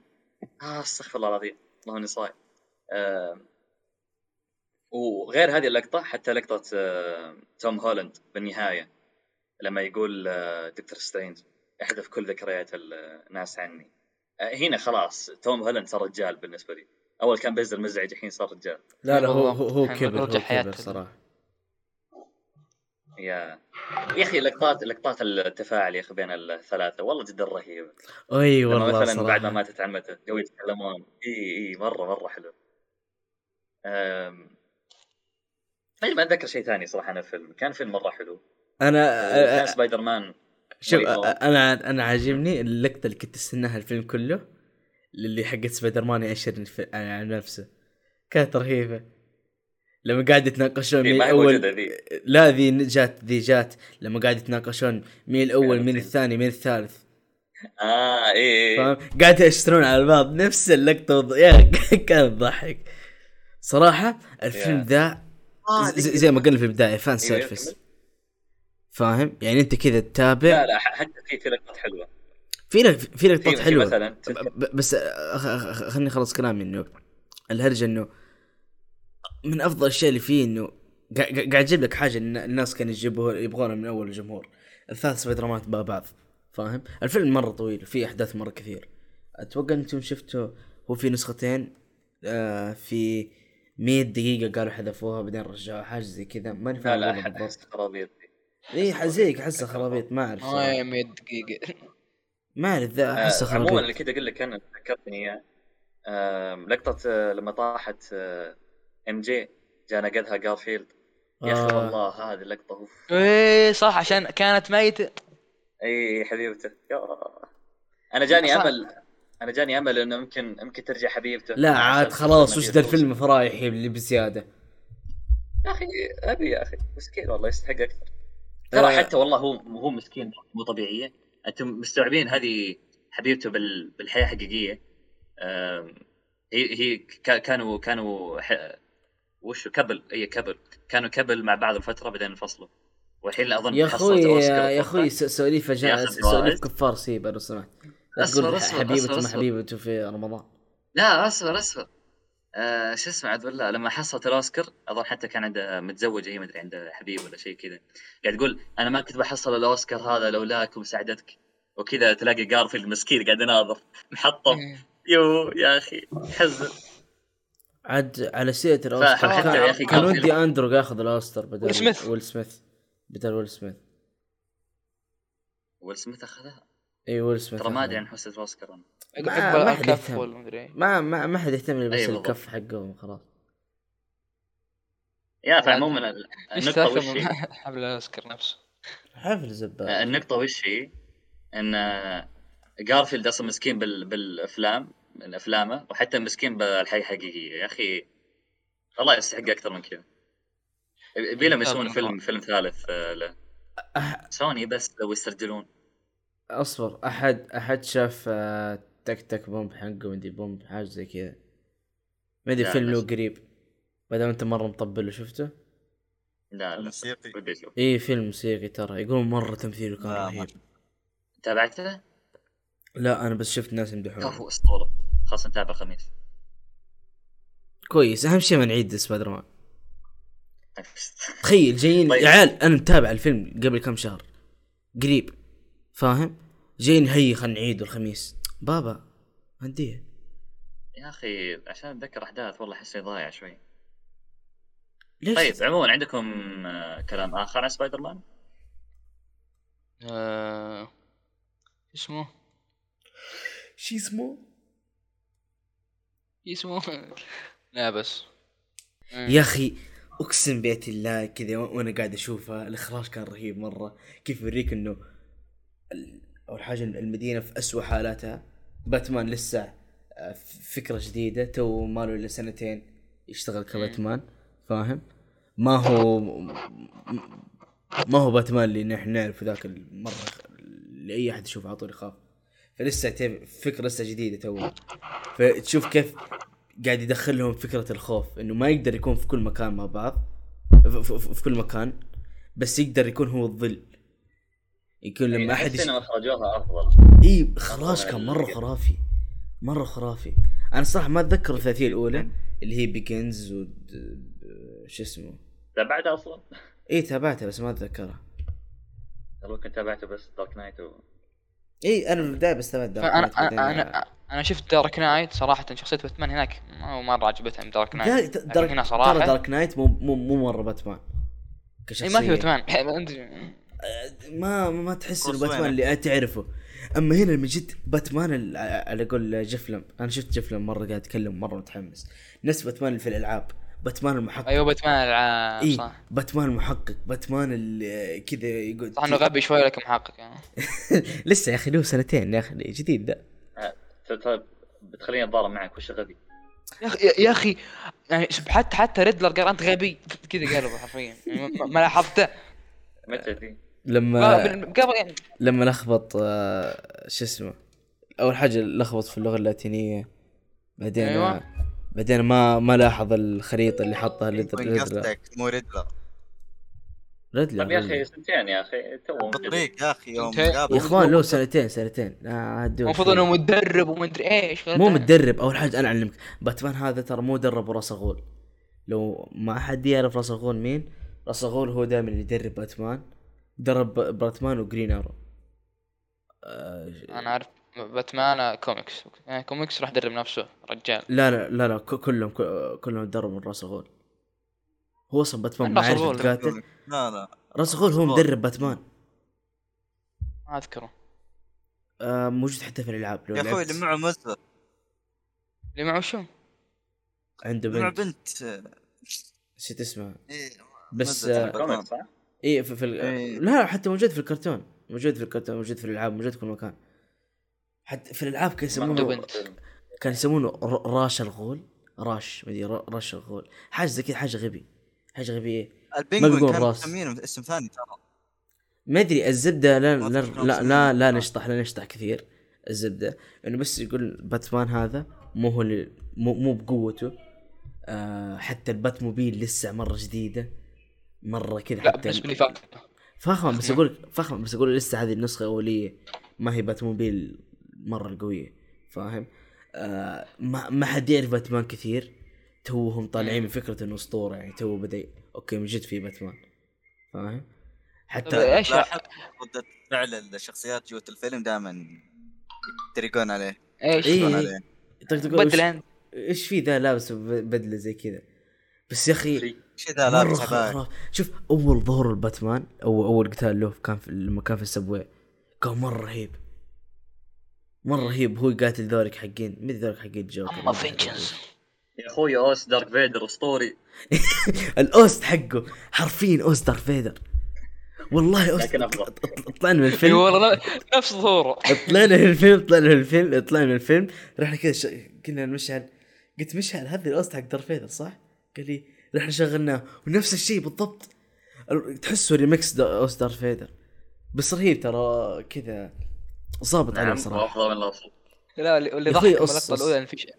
[SPEAKER 4] آه استغفر الله العظيم والله اني صايم آه وغير هذه اللقطه حتى لقطه آه توم هولاند بالنهايه لما يقول آه دكتور سترينج احذف كل ذكريات الناس عني آه هنا خلاص توم هولاند صار رجال بالنسبه لي اول كان بزر مزعج الحين صار رجال
[SPEAKER 1] لا لا هو هو هو
[SPEAKER 3] بالضبط.
[SPEAKER 1] كبر هو
[SPEAKER 3] رجع
[SPEAKER 1] كبر
[SPEAKER 3] حياته.
[SPEAKER 1] صراحه
[SPEAKER 4] يا يا اخي لقطات لقطات التفاعل يا اخي بين الثلاثه والله جدا رهيبه
[SPEAKER 1] اي
[SPEAKER 4] لما
[SPEAKER 1] والله
[SPEAKER 4] مثلا بعد ما
[SPEAKER 1] صراحه
[SPEAKER 4] ماتت عمته جو يتكلمون اي اي مره مره حلو أم... طيب ما اتذكر شيء ثاني صراحه انا فيلم كان فيلم مره حلو
[SPEAKER 1] انا أه،
[SPEAKER 4] كان سبايدر مان
[SPEAKER 1] شوف
[SPEAKER 4] مريض والله.
[SPEAKER 1] انا انا عاجبني اللقطه اللي كنت استناها الفيلم كله اللي حقت سبايدر مان يأشر في- عن نفسه كانت رهيبه لما قاعد يتناقشون
[SPEAKER 4] إيه،
[SPEAKER 1] مين
[SPEAKER 4] ما هي موجودة
[SPEAKER 1] الاول
[SPEAKER 4] ذي.
[SPEAKER 1] لا ذي جات ذي جات لما قاعد يتناقشون مين الاول
[SPEAKER 4] كانت
[SPEAKER 1] مين
[SPEAKER 4] ذي.
[SPEAKER 1] الثاني مين الثالث
[SPEAKER 4] اه اي اي
[SPEAKER 1] فاهم قاعد يأشرون على بعض نفس اللقطه وض- يا كانت تضحك صراحه الفيلم
[SPEAKER 4] يا.
[SPEAKER 1] ذا
[SPEAKER 2] آه،
[SPEAKER 1] ز- زي ما قلنا في البدايه فان
[SPEAKER 4] أيوة،
[SPEAKER 1] سيرفيس
[SPEAKER 4] كمل.
[SPEAKER 1] فاهم يعني انت كذا تتابع
[SPEAKER 4] لا إيه، لا ح- حتى في في لقطات حلوه
[SPEAKER 1] في لك في
[SPEAKER 4] في-
[SPEAKER 1] لقطات
[SPEAKER 4] في
[SPEAKER 1] حلوه
[SPEAKER 4] مثلا
[SPEAKER 1] ب- ب- بس أخ- أخ- خلني اخلص كلامي انه الهرجه انه من افضل الشيء اللي فيه انه قا- قا- قاعد يجيب لك حاجه إن الناس كانوا يجيبوها يبغونها من اول الجمهور الثلاث سبايدر مات مع بعض فاهم الفيلم مره طويل وفيه احداث مره كثير اتوقع انتم شفتوا هو في نسختين آه في 100 دقيقة قالوا حذفوها بعدين رجعوها حاجة زي كذا ماني
[SPEAKER 4] لا
[SPEAKER 1] فاهم
[SPEAKER 4] لا
[SPEAKER 1] والله
[SPEAKER 4] أحد
[SPEAKER 1] بالضبط
[SPEAKER 4] أحس خرابيط
[SPEAKER 1] اي حزيك احسها خرابيط ما اعرف صراحة.
[SPEAKER 3] ما 100 دقيقة
[SPEAKER 1] ما اعرف ذا احسها
[SPEAKER 4] آه، عموما اللي
[SPEAKER 1] خرابيط
[SPEAKER 4] كذا اقول لك انا ذكرتني اياه آم، لقطه آه، لما طاحت آه، ام جي جاء نقدها جارفيلد يا اخي
[SPEAKER 1] آه.
[SPEAKER 4] والله هذه اللقطه اوف
[SPEAKER 3] ايه صح عشان كانت ميتة
[SPEAKER 4] اي حبيبته يا انا جاني
[SPEAKER 3] صح.
[SPEAKER 4] امل انا جاني امل انه ممكن ممكن ترجع حبيبته
[SPEAKER 1] لا
[SPEAKER 4] مع
[SPEAKER 1] عاد
[SPEAKER 4] سلسلة
[SPEAKER 1] خلاص وش ذا
[SPEAKER 4] مدير فوز.
[SPEAKER 1] الفيلم فرايح اللي بزيادة
[SPEAKER 4] يا اخي ابي يا اخي مسكين والله يستحق اكثر ترى
[SPEAKER 1] آه.
[SPEAKER 4] حتى والله هو هو مسكين مو طبيعيه انتم مستوعبين هذه حبيبته بال... بالحياه حقيقيه آم، هي هي كا- كانوا كانوا ح... وش كبل اي كبل كانوا كبل مع بعض فتره بعدين انفصلوا والحين اظن
[SPEAKER 1] يا
[SPEAKER 4] حصلت
[SPEAKER 1] اخوي
[SPEAKER 4] أوسكار
[SPEAKER 1] يا
[SPEAKER 4] أتوقع.
[SPEAKER 1] اخوي س- سواليف جا-
[SPEAKER 4] ياخذ
[SPEAKER 1] سواليف
[SPEAKER 4] جوائز.
[SPEAKER 1] كفار سيبا لو سمحت لا
[SPEAKER 4] أصبر،
[SPEAKER 1] تقول
[SPEAKER 4] أصبر،
[SPEAKER 1] حبيبته
[SPEAKER 4] أصبر،
[SPEAKER 1] ما
[SPEAKER 4] أصبر.
[SPEAKER 1] حبيبته في رمضان
[SPEAKER 4] لا اصبر اصبر آه شو اسمه عبد الله لما حصلت الاوسكار اظن حتى كان عندها متزوجه هي مدري عندها حبيب ولا شيء كذا قاعد تقول انا ما كنت بحصل الاوسكار هذا لولاك ومساعدتك وكذا تلاقي جارفيلد مسكين قاعد يناظر محطم
[SPEAKER 3] إيه.
[SPEAKER 4] يو يا اخي حزن
[SPEAKER 1] عاد على سيرة
[SPEAKER 4] فحتى
[SPEAKER 1] الاوستر
[SPEAKER 4] يا
[SPEAKER 1] كان,
[SPEAKER 4] أخي
[SPEAKER 1] كان
[SPEAKER 4] قبل-
[SPEAKER 1] ودي اندرو ياخذ الاوستر بدل
[SPEAKER 3] ويل سميث.
[SPEAKER 1] ويل سميث بدل ويل سميث
[SPEAKER 4] ويل سميث اخذها
[SPEAKER 1] اي ويل سميث
[SPEAKER 4] ترى ما ادري
[SPEAKER 1] أخذها.
[SPEAKER 4] عن حصه الاوسكار انا
[SPEAKER 1] ما-
[SPEAKER 3] عقب
[SPEAKER 1] ما حد
[SPEAKER 3] الكف
[SPEAKER 1] يفهم.
[SPEAKER 3] والمدري
[SPEAKER 1] ما ما ما حد يهتم إلا بس
[SPEAKER 4] أي أيوة، بالضبط.
[SPEAKER 1] الكف حقهم خلاص
[SPEAKER 4] يا فعموما ال-
[SPEAKER 3] ايش
[SPEAKER 4] النقطه وش
[SPEAKER 3] تاثر من
[SPEAKER 4] هي؟
[SPEAKER 3] حفل الاوسكار نفسه
[SPEAKER 1] حفل زبال
[SPEAKER 4] النقطة وش هي؟ ان آه، جارفيلد اصلا مسكين بال... بالافلام من افلامه وحتى مسكين بالحياة الحقيقية يا اخي الله يستحق اكثر من كذا يبي لهم يسوون
[SPEAKER 3] طبعاً.
[SPEAKER 4] فيلم فيلم ثالث آه، له
[SPEAKER 1] أح-
[SPEAKER 4] سوني بس لو يسترجلون
[SPEAKER 1] اصبر احد احد شاف آه، تك تك بومب حقه مدري بومب حاجه زي كذا ما ادري
[SPEAKER 4] لا،
[SPEAKER 1] فيلم له
[SPEAKER 4] بس-
[SPEAKER 1] قريب ما دام انت مره مطبل شفته
[SPEAKER 4] لا لا
[SPEAKER 2] موسيقي.
[SPEAKER 4] بدي اشوف
[SPEAKER 1] اي فيلم موسيقي ترى يقولون مره تمثيله كان
[SPEAKER 2] لا، ما
[SPEAKER 1] رهيب
[SPEAKER 2] شفت.
[SPEAKER 4] تابعته؟
[SPEAKER 1] لا انا بس شفت ناس يمدحونه
[SPEAKER 4] كفو اسطورة خلاص نتابع الخميس
[SPEAKER 1] كويس اهم شيء ما نعيد سبايدر مان تخيل جايين
[SPEAKER 4] طيب.
[SPEAKER 1] يا عيال انا متابع الفيلم قبل كم شهر قريب فاهم جايين هي خلينا نعيد الخميس بابا هديه
[SPEAKER 4] يا اخي عشان اتذكر احداث والله احس إني ضايع شوي
[SPEAKER 1] ليش
[SPEAKER 4] طيب عموما عندكم آه، كلام اخر عن سبايدر مان؟
[SPEAKER 3] آه، اسمه
[SPEAKER 1] شي اسمه
[SPEAKER 3] اسمه لا بس إيه.
[SPEAKER 1] يا اخي اقسم بيت الله كذا و- وانا قاعد اشوفها الاخراج كان رهيب مره كيف يوريك انه ال- اول حاجه المدينه في أسوأ حالاتها باتمان لسه آه، ف- فكره جديده تو ماله الا سنتين يشتغل كباتمان فاهم ما هو م- م- ما هو باتمان اللي نحن نعرفه ذاك المره اللي اي احد يشوفه على طول يخاف فلسه تب- فكره لسه جديده تو فتشوف كيف قاعد يدخل لهم فكره الخوف انه ما يقدر يكون في كل مكان مع بعض ف- ف- ف- في كل مكان بس يقدر يكون هو الظل يكون لما احد
[SPEAKER 4] احس
[SPEAKER 1] يش...
[SPEAKER 4] انهم اخرجوها افضل
[SPEAKER 1] اي اخراج كان مره
[SPEAKER 4] ال-
[SPEAKER 1] خرافي مره خرافي انا صراحه ما اتذكر الثلاثيه الاولى اللي هي بيجنز و شو اسمه
[SPEAKER 4] تابعته اصلا؟
[SPEAKER 1] اي تابعتها بس ما اتذكرها
[SPEAKER 4] والله كنت طيب، تابعته بس دارك نايت و...
[SPEAKER 1] اي انا في البدايه بس تابعت دارك
[SPEAKER 3] انا
[SPEAKER 1] نايت، بعدين-
[SPEAKER 3] انا انا انا شفت دارك نايت صراحه شخصيه باتمان هناك ما مره عجبتني دارك
[SPEAKER 1] لا،
[SPEAKER 3] نايت
[SPEAKER 1] د-
[SPEAKER 3] لكن
[SPEAKER 1] دارك
[SPEAKER 3] هنا
[SPEAKER 1] ترى
[SPEAKER 3] صراحه
[SPEAKER 1] دارك نايت مو مو مو مره باتمان
[SPEAKER 3] إيه، ما في
[SPEAKER 1] كشخصية.
[SPEAKER 3] باتمان ما أدري.
[SPEAKER 1] ما ما تحس انه
[SPEAKER 2] كروس
[SPEAKER 1] باتمان اللي تعرفه اما هنا لما جيت باتمان ال- على قول جفلم انا شفت جفلم مره قاعد اتكلم مره متحمس نفس باتمان اللي في الالعاب باتمان المحقق
[SPEAKER 3] ايوه باتمان الع...
[SPEAKER 1] إيه.
[SPEAKER 3] صح
[SPEAKER 1] باتمان المحقق باتمان اللي كذا يقول
[SPEAKER 3] صح انه غبي شوي لكن محقق يعني
[SPEAKER 1] لسه يا اخي له سنتين يا اخي جديد ذا
[SPEAKER 4] ت- ت- طيب، بتخليني اتضارب معك وش غبي
[SPEAKER 3] يا اخي يا اخي يعني شوف حتى حتى ريدلر قال انت غبي كذا قالوا حرفيا يعني ما- ما لاحظته
[SPEAKER 1] آه،
[SPEAKER 4] متى دي؟
[SPEAKER 1] لما
[SPEAKER 3] ما- قبل يعني
[SPEAKER 1] لما لخبط آه، شو اسمه اول حاجه لخبط في اللغه اللاتينيه بعدين
[SPEAKER 3] أيوة.
[SPEAKER 1] أيوة. بعدين ما ما لاحظ الخريطه اللي حطها ليدر
[SPEAKER 2] يكون
[SPEAKER 1] ليدر
[SPEAKER 2] أيوة، قصدك مو ريدلر
[SPEAKER 1] ريدلر
[SPEAKER 4] طب طيب يا
[SPEAKER 1] ريدلر.
[SPEAKER 4] اخي سنتين يا اخي تو
[SPEAKER 2] بالطريق يا اخي يوم
[SPEAKER 3] انت-
[SPEAKER 1] يا
[SPEAKER 2] قابل
[SPEAKER 1] اخوان له سنتين سنتين لا عدول
[SPEAKER 3] طيب، المفروض انه متدرب ومدري ايش
[SPEAKER 1] يعني؟ مو متدرب اول حاجه انا اعلمك باتمان هذا ترى مو درب راس الغول لو ما حد يعرف راس الغول مين راس الغول هو دائما اللي يدرب باتمان درب باتمان وجرين ارو آه،
[SPEAKER 3] انا عارف باتمان كوميكس يعني كوميكس راح يدرب نفسه رجال
[SPEAKER 1] لا لا لا لا ك- كلهم ك- كلهم دربوا راس الغول هو اصلا باتمان ما
[SPEAKER 3] راس
[SPEAKER 1] عارف
[SPEAKER 3] الغول.
[SPEAKER 1] يتقاتل
[SPEAKER 2] لا لا
[SPEAKER 1] راس الغول هو
[SPEAKER 2] الغول.
[SPEAKER 1] مدرب باتمان
[SPEAKER 3] ما اذكره
[SPEAKER 1] آه، موجود حتى في الالعاب لو
[SPEAKER 2] يا اخوي
[SPEAKER 1] لعبت
[SPEAKER 2] اللي معه مزبط
[SPEAKER 3] اللي معه شو؟
[SPEAKER 1] عنده
[SPEAKER 2] معه
[SPEAKER 1] بنت
[SPEAKER 2] بنت
[SPEAKER 1] نسيت اسمها
[SPEAKER 2] إيه،
[SPEAKER 1] بس،
[SPEAKER 2] مزبط
[SPEAKER 1] آه،
[SPEAKER 2] البطل.
[SPEAKER 4] كومنت صح؟
[SPEAKER 1] اي في, في ال...
[SPEAKER 2] إيه.
[SPEAKER 1] لا حتى موجود في الكرتون موجود في الكرتون موجود في الالعاب موجود في كل مكان حتى في الالعاب كان
[SPEAKER 3] مكتوب
[SPEAKER 1] يسمونه
[SPEAKER 3] أنت.
[SPEAKER 1] كان يسمونه ر- راش الغول راش مدري را- راش الغول حاجه زي كذا حاجه غبي إيه. حاجه غبيه ما
[SPEAKER 2] البنجوين
[SPEAKER 1] بيقول
[SPEAKER 2] كانوا
[SPEAKER 1] راس.
[SPEAKER 2] مسمينه اسم ثاني ترى
[SPEAKER 1] ما ادري الزبده لا
[SPEAKER 2] ما
[SPEAKER 1] لا
[SPEAKER 2] أذكر
[SPEAKER 1] لا, لا, لا
[SPEAKER 2] اسمه.
[SPEAKER 1] نشطح لا نشطح كثير الزبده انه بس يقول باتمان هذا مو هو اللي- مو مو بقوته آه حتى الباتموبيل لسه مره جديده مره كذا
[SPEAKER 3] لا
[SPEAKER 1] حتى
[SPEAKER 3] بالنسبه لي فاكر
[SPEAKER 1] فخمة بس
[SPEAKER 3] فخمة.
[SPEAKER 1] اقول فخمة بس اقول لسه هذه النسخة الأولية ما هي باتموبيل مرة القوية فاهم؟ آه ما ما حد يعرف باتمان كثير توهم طالعين من فكرة انه اسطورة يعني تو بدأ اوكي من جد في باتمان فاهم؟
[SPEAKER 3] طب
[SPEAKER 2] طيب،
[SPEAKER 1] حتى
[SPEAKER 3] ايش
[SPEAKER 2] لاحظ ردة فعل الشخصيات جوة الفيلم دائما يتريقون عليه
[SPEAKER 3] ايش
[SPEAKER 1] إيه.
[SPEAKER 2] يتريقون عليه
[SPEAKER 1] طيب تقول
[SPEAKER 3] بدل
[SPEAKER 1] إيش-
[SPEAKER 3] انت
[SPEAKER 1] ايش في ذا لابس ب- بدلة زي كذا؟ بس يا اخي
[SPEAKER 4] طيب،
[SPEAKER 2] شي ذا
[SPEAKER 1] مرة
[SPEAKER 2] لابس هذاك
[SPEAKER 1] خرافي شوف اول ظهور الباتمان او اول قتال له كان في لما كان في السبوي كان مره رهيب مره رهيب هو يقاتل ذولك حقين مين ذولك حقين جوكر
[SPEAKER 3] اما فينجنس
[SPEAKER 4] يا اخوي اوس دارك فيدر اسطوري
[SPEAKER 1] الاوست حقه حرفيا اوست دارث فيدر والله اوست
[SPEAKER 4] لكن أفضل.
[SPEAKER 1] طلعنا من
[SPEAKER 3] اي
[SPEAKER 1] الفيلم
[SPEAKER 3] والله ن- نفس ظهوره
[SPEAKER 1] طلعنا من الفيلم طلعنا من الفيلم طلعنا من الفيلم رحنا كذا ش... كنا مشعل قلت مشعل هذا الاوست حق درفيدر صح؟ قال لي رحنا شغلناه ونفس الشيء بالضبط ال- تحسه ريمكس دا- اوست درفيدر بس رهيب ترى كذا ظابط عليه
[SPEAKER 4] نعم
[SPEAKER 1] صراحه
[SPEAKER 4] افضل من الاصل
[SPEAKER 3] لا اللي- اللي
[SPEAKER 1] يا أخوي،
[SPEAKER 3] ضحك
[SPEAKER 1] أص-
[SPEAKER 3] المقطع
[SPEAKER 1] أص.
[SPEAKER 3] الاولى إن في ش- في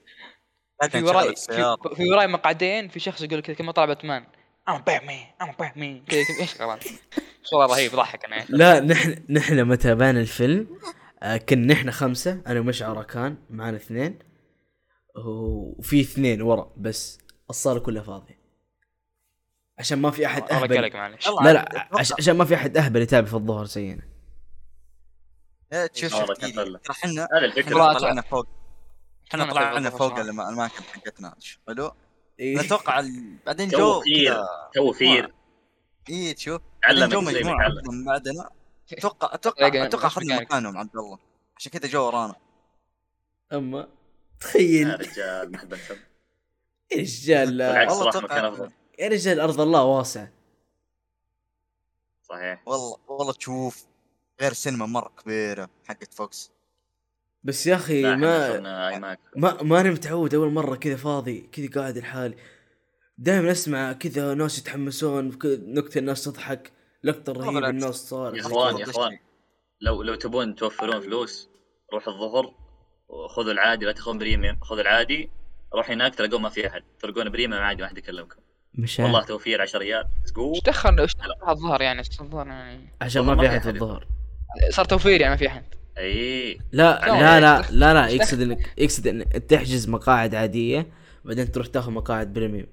[SPEAKER 2] لكن
[SPEAKER 3] وراي
[SPEAKER 2] شغل
[SPEAKER 3] في,
[SPEAKER 2] السيارة
[SPEAKER 3] في وراي مقعدين في شخص يقول كذا كما طلع باتمان انا باتمان انا باتمان كذا كذا، ايش غلط والله رهيب ضحك انا
[SPEAKER 1] لا نحن نحن متى بان الفيلم آه، كنا نحن خمسه انا ومشعل ركان معانا اثنين وفي اثنين ورا بس الصاله كلها فاضيه عشان ما في احد
[SPEAKER 3] والله
[SPEAKER 1] اهبل
[SPEAKER 3] قلق معلش
[SPEAKER 2] يلا
[SPEAKER 1] لا
[SPEAKER 2] عاد،
[SPEAKER 1] لا
[SPEAKER 2] اتوقع.
[SPEAKER 1] عش- عشان ما في احد اهبل يتابع في الظهر زينا
[SPEAKER 2] إيه، تشوف
[SPEAKER 4] والله
[SPEAKER 2] شوف
[SPEAKER 4] كان
[SPEAKER 2] دي-
[SPEAKER 4] طلع.
[SPEAKER 2] ترى احنا
[SPEAKER 4] هذا الفكره
[SPEAKER 3] والله
[SPEAKER 2] احنا طلعنا فوق احنا طلعنا فوق الم- الاماكن حقتنا حلو
[SPEAKER 1] إيه.
[SPEAKER 2] نتوقع ال- بعدين
[SPEAKER 4] تو
[SPEAKER 2] جو
[SPEAKER 4] فير
[SPEAKER 2] كذا آه.
[SPEAKER 4] تو فير
[SPEAKER 2] اي تشوف بعدين
[SPEAKER 4] علمك
[SPEAKER 2] جو
[SPEAKER 4] زي ما
[SPEAKER 2] مجموعه
[SPEAKER 4] تعلم
[SPEAKER 2] من بعدنا اتوقع اتوقع
[SPEAKER 3] دقيقة،
[SPEAKER 2] اتوقع
[SPEAKER 3] بس
[SPEAKER 2] اخذنا
[SPEAKER 3] دقيقة.
[SPEAKER 2] إيه، مكانهم عبد الله عشان كذا جو ورانا
[SPEAKER 1] اما
[SPEAKER 4] يا
[SPEAKER 1] تخيل
[SPEAKER 4] رجال محبا الشر
[SPEAKER 1] يا رجال
[SPEAKER 4] بالعكس
[SPEAKER 2] آه، والله
[SPEAKER 4] صراحه
[SPEAKER 2] أتوقع-
[SPEAKER 4] مكان افضل
[SPEAKER 1] يا رجال ارض الله واسعه
[SPEAKER 4] صحيح
[SPEAKER 2] والله والله تشوف غير سينما مره كبيره حقت فوكس
[SPEAKER 1] بس يا اخي
[SPEAKER 4] لا، يعني إحنا
[SPEAKER 1] إيه، ما
[SPEAKER 4] صرنا اي ماك
[SPEAKER 1] ما ما انا متعود اول مره كذا فاضي كذا قاعد لحالي دائما اسمع كذا ناس يتحمسون كذا نكته الناس تضحك لقطه رهيبه
[SPEAKER 2] بالعكس.
[SPEAKER 1] الناس
[SPEAKER 4] يا
[SPEAKER 1] صارت
[SPEAKER 4] اخوان يا اخوان لو لو تبون توفرون فلوس روح الظهر وخذوا العادي لا تاخذون بريميوم خذوا العادي روح هناك تلقون ما في احد تلقون بريميوم عادي ما حد يكلمكم
[SPEAKER 1] مش
[SPEAKER 4] والله
[SPEAKER 1] عارف
[SPEAKER 4] توفير 10 ريال
[SPEAKER 3] ايش
[SPEAKER 4] تقول
[SPEAKER 3] دخل ايش دخل الظهر يعني إيش الظهر يعني
[SPEAKER 1] عشان
[SPEAKER 4] والله
[SPEAKER 1] ما
[SPEAKER 4] ما
[SPEAKER 1] في
[SPEAKER 4] في
[SPEAKER 1] احد في
[SPEAKER 4] أحد.
[SPEAKER 1] الظهر
[SPEAKER 3] صار توفير يعني ما في احد
[SPEAKER 4] اي
[SPEAKER 1] لا
[SPEAKER 4] لا،
[SPEAKER 1] لا لا
[SPEAKER 3] دخل-
[SPEAKER 1] لا لا
[SPEAKER 3] دخل.
[SPEAKER 1] يقصد انك يقصد انك تحجز مقاعد عاديه بعدين تروح تاخذ مقاعد بريميوم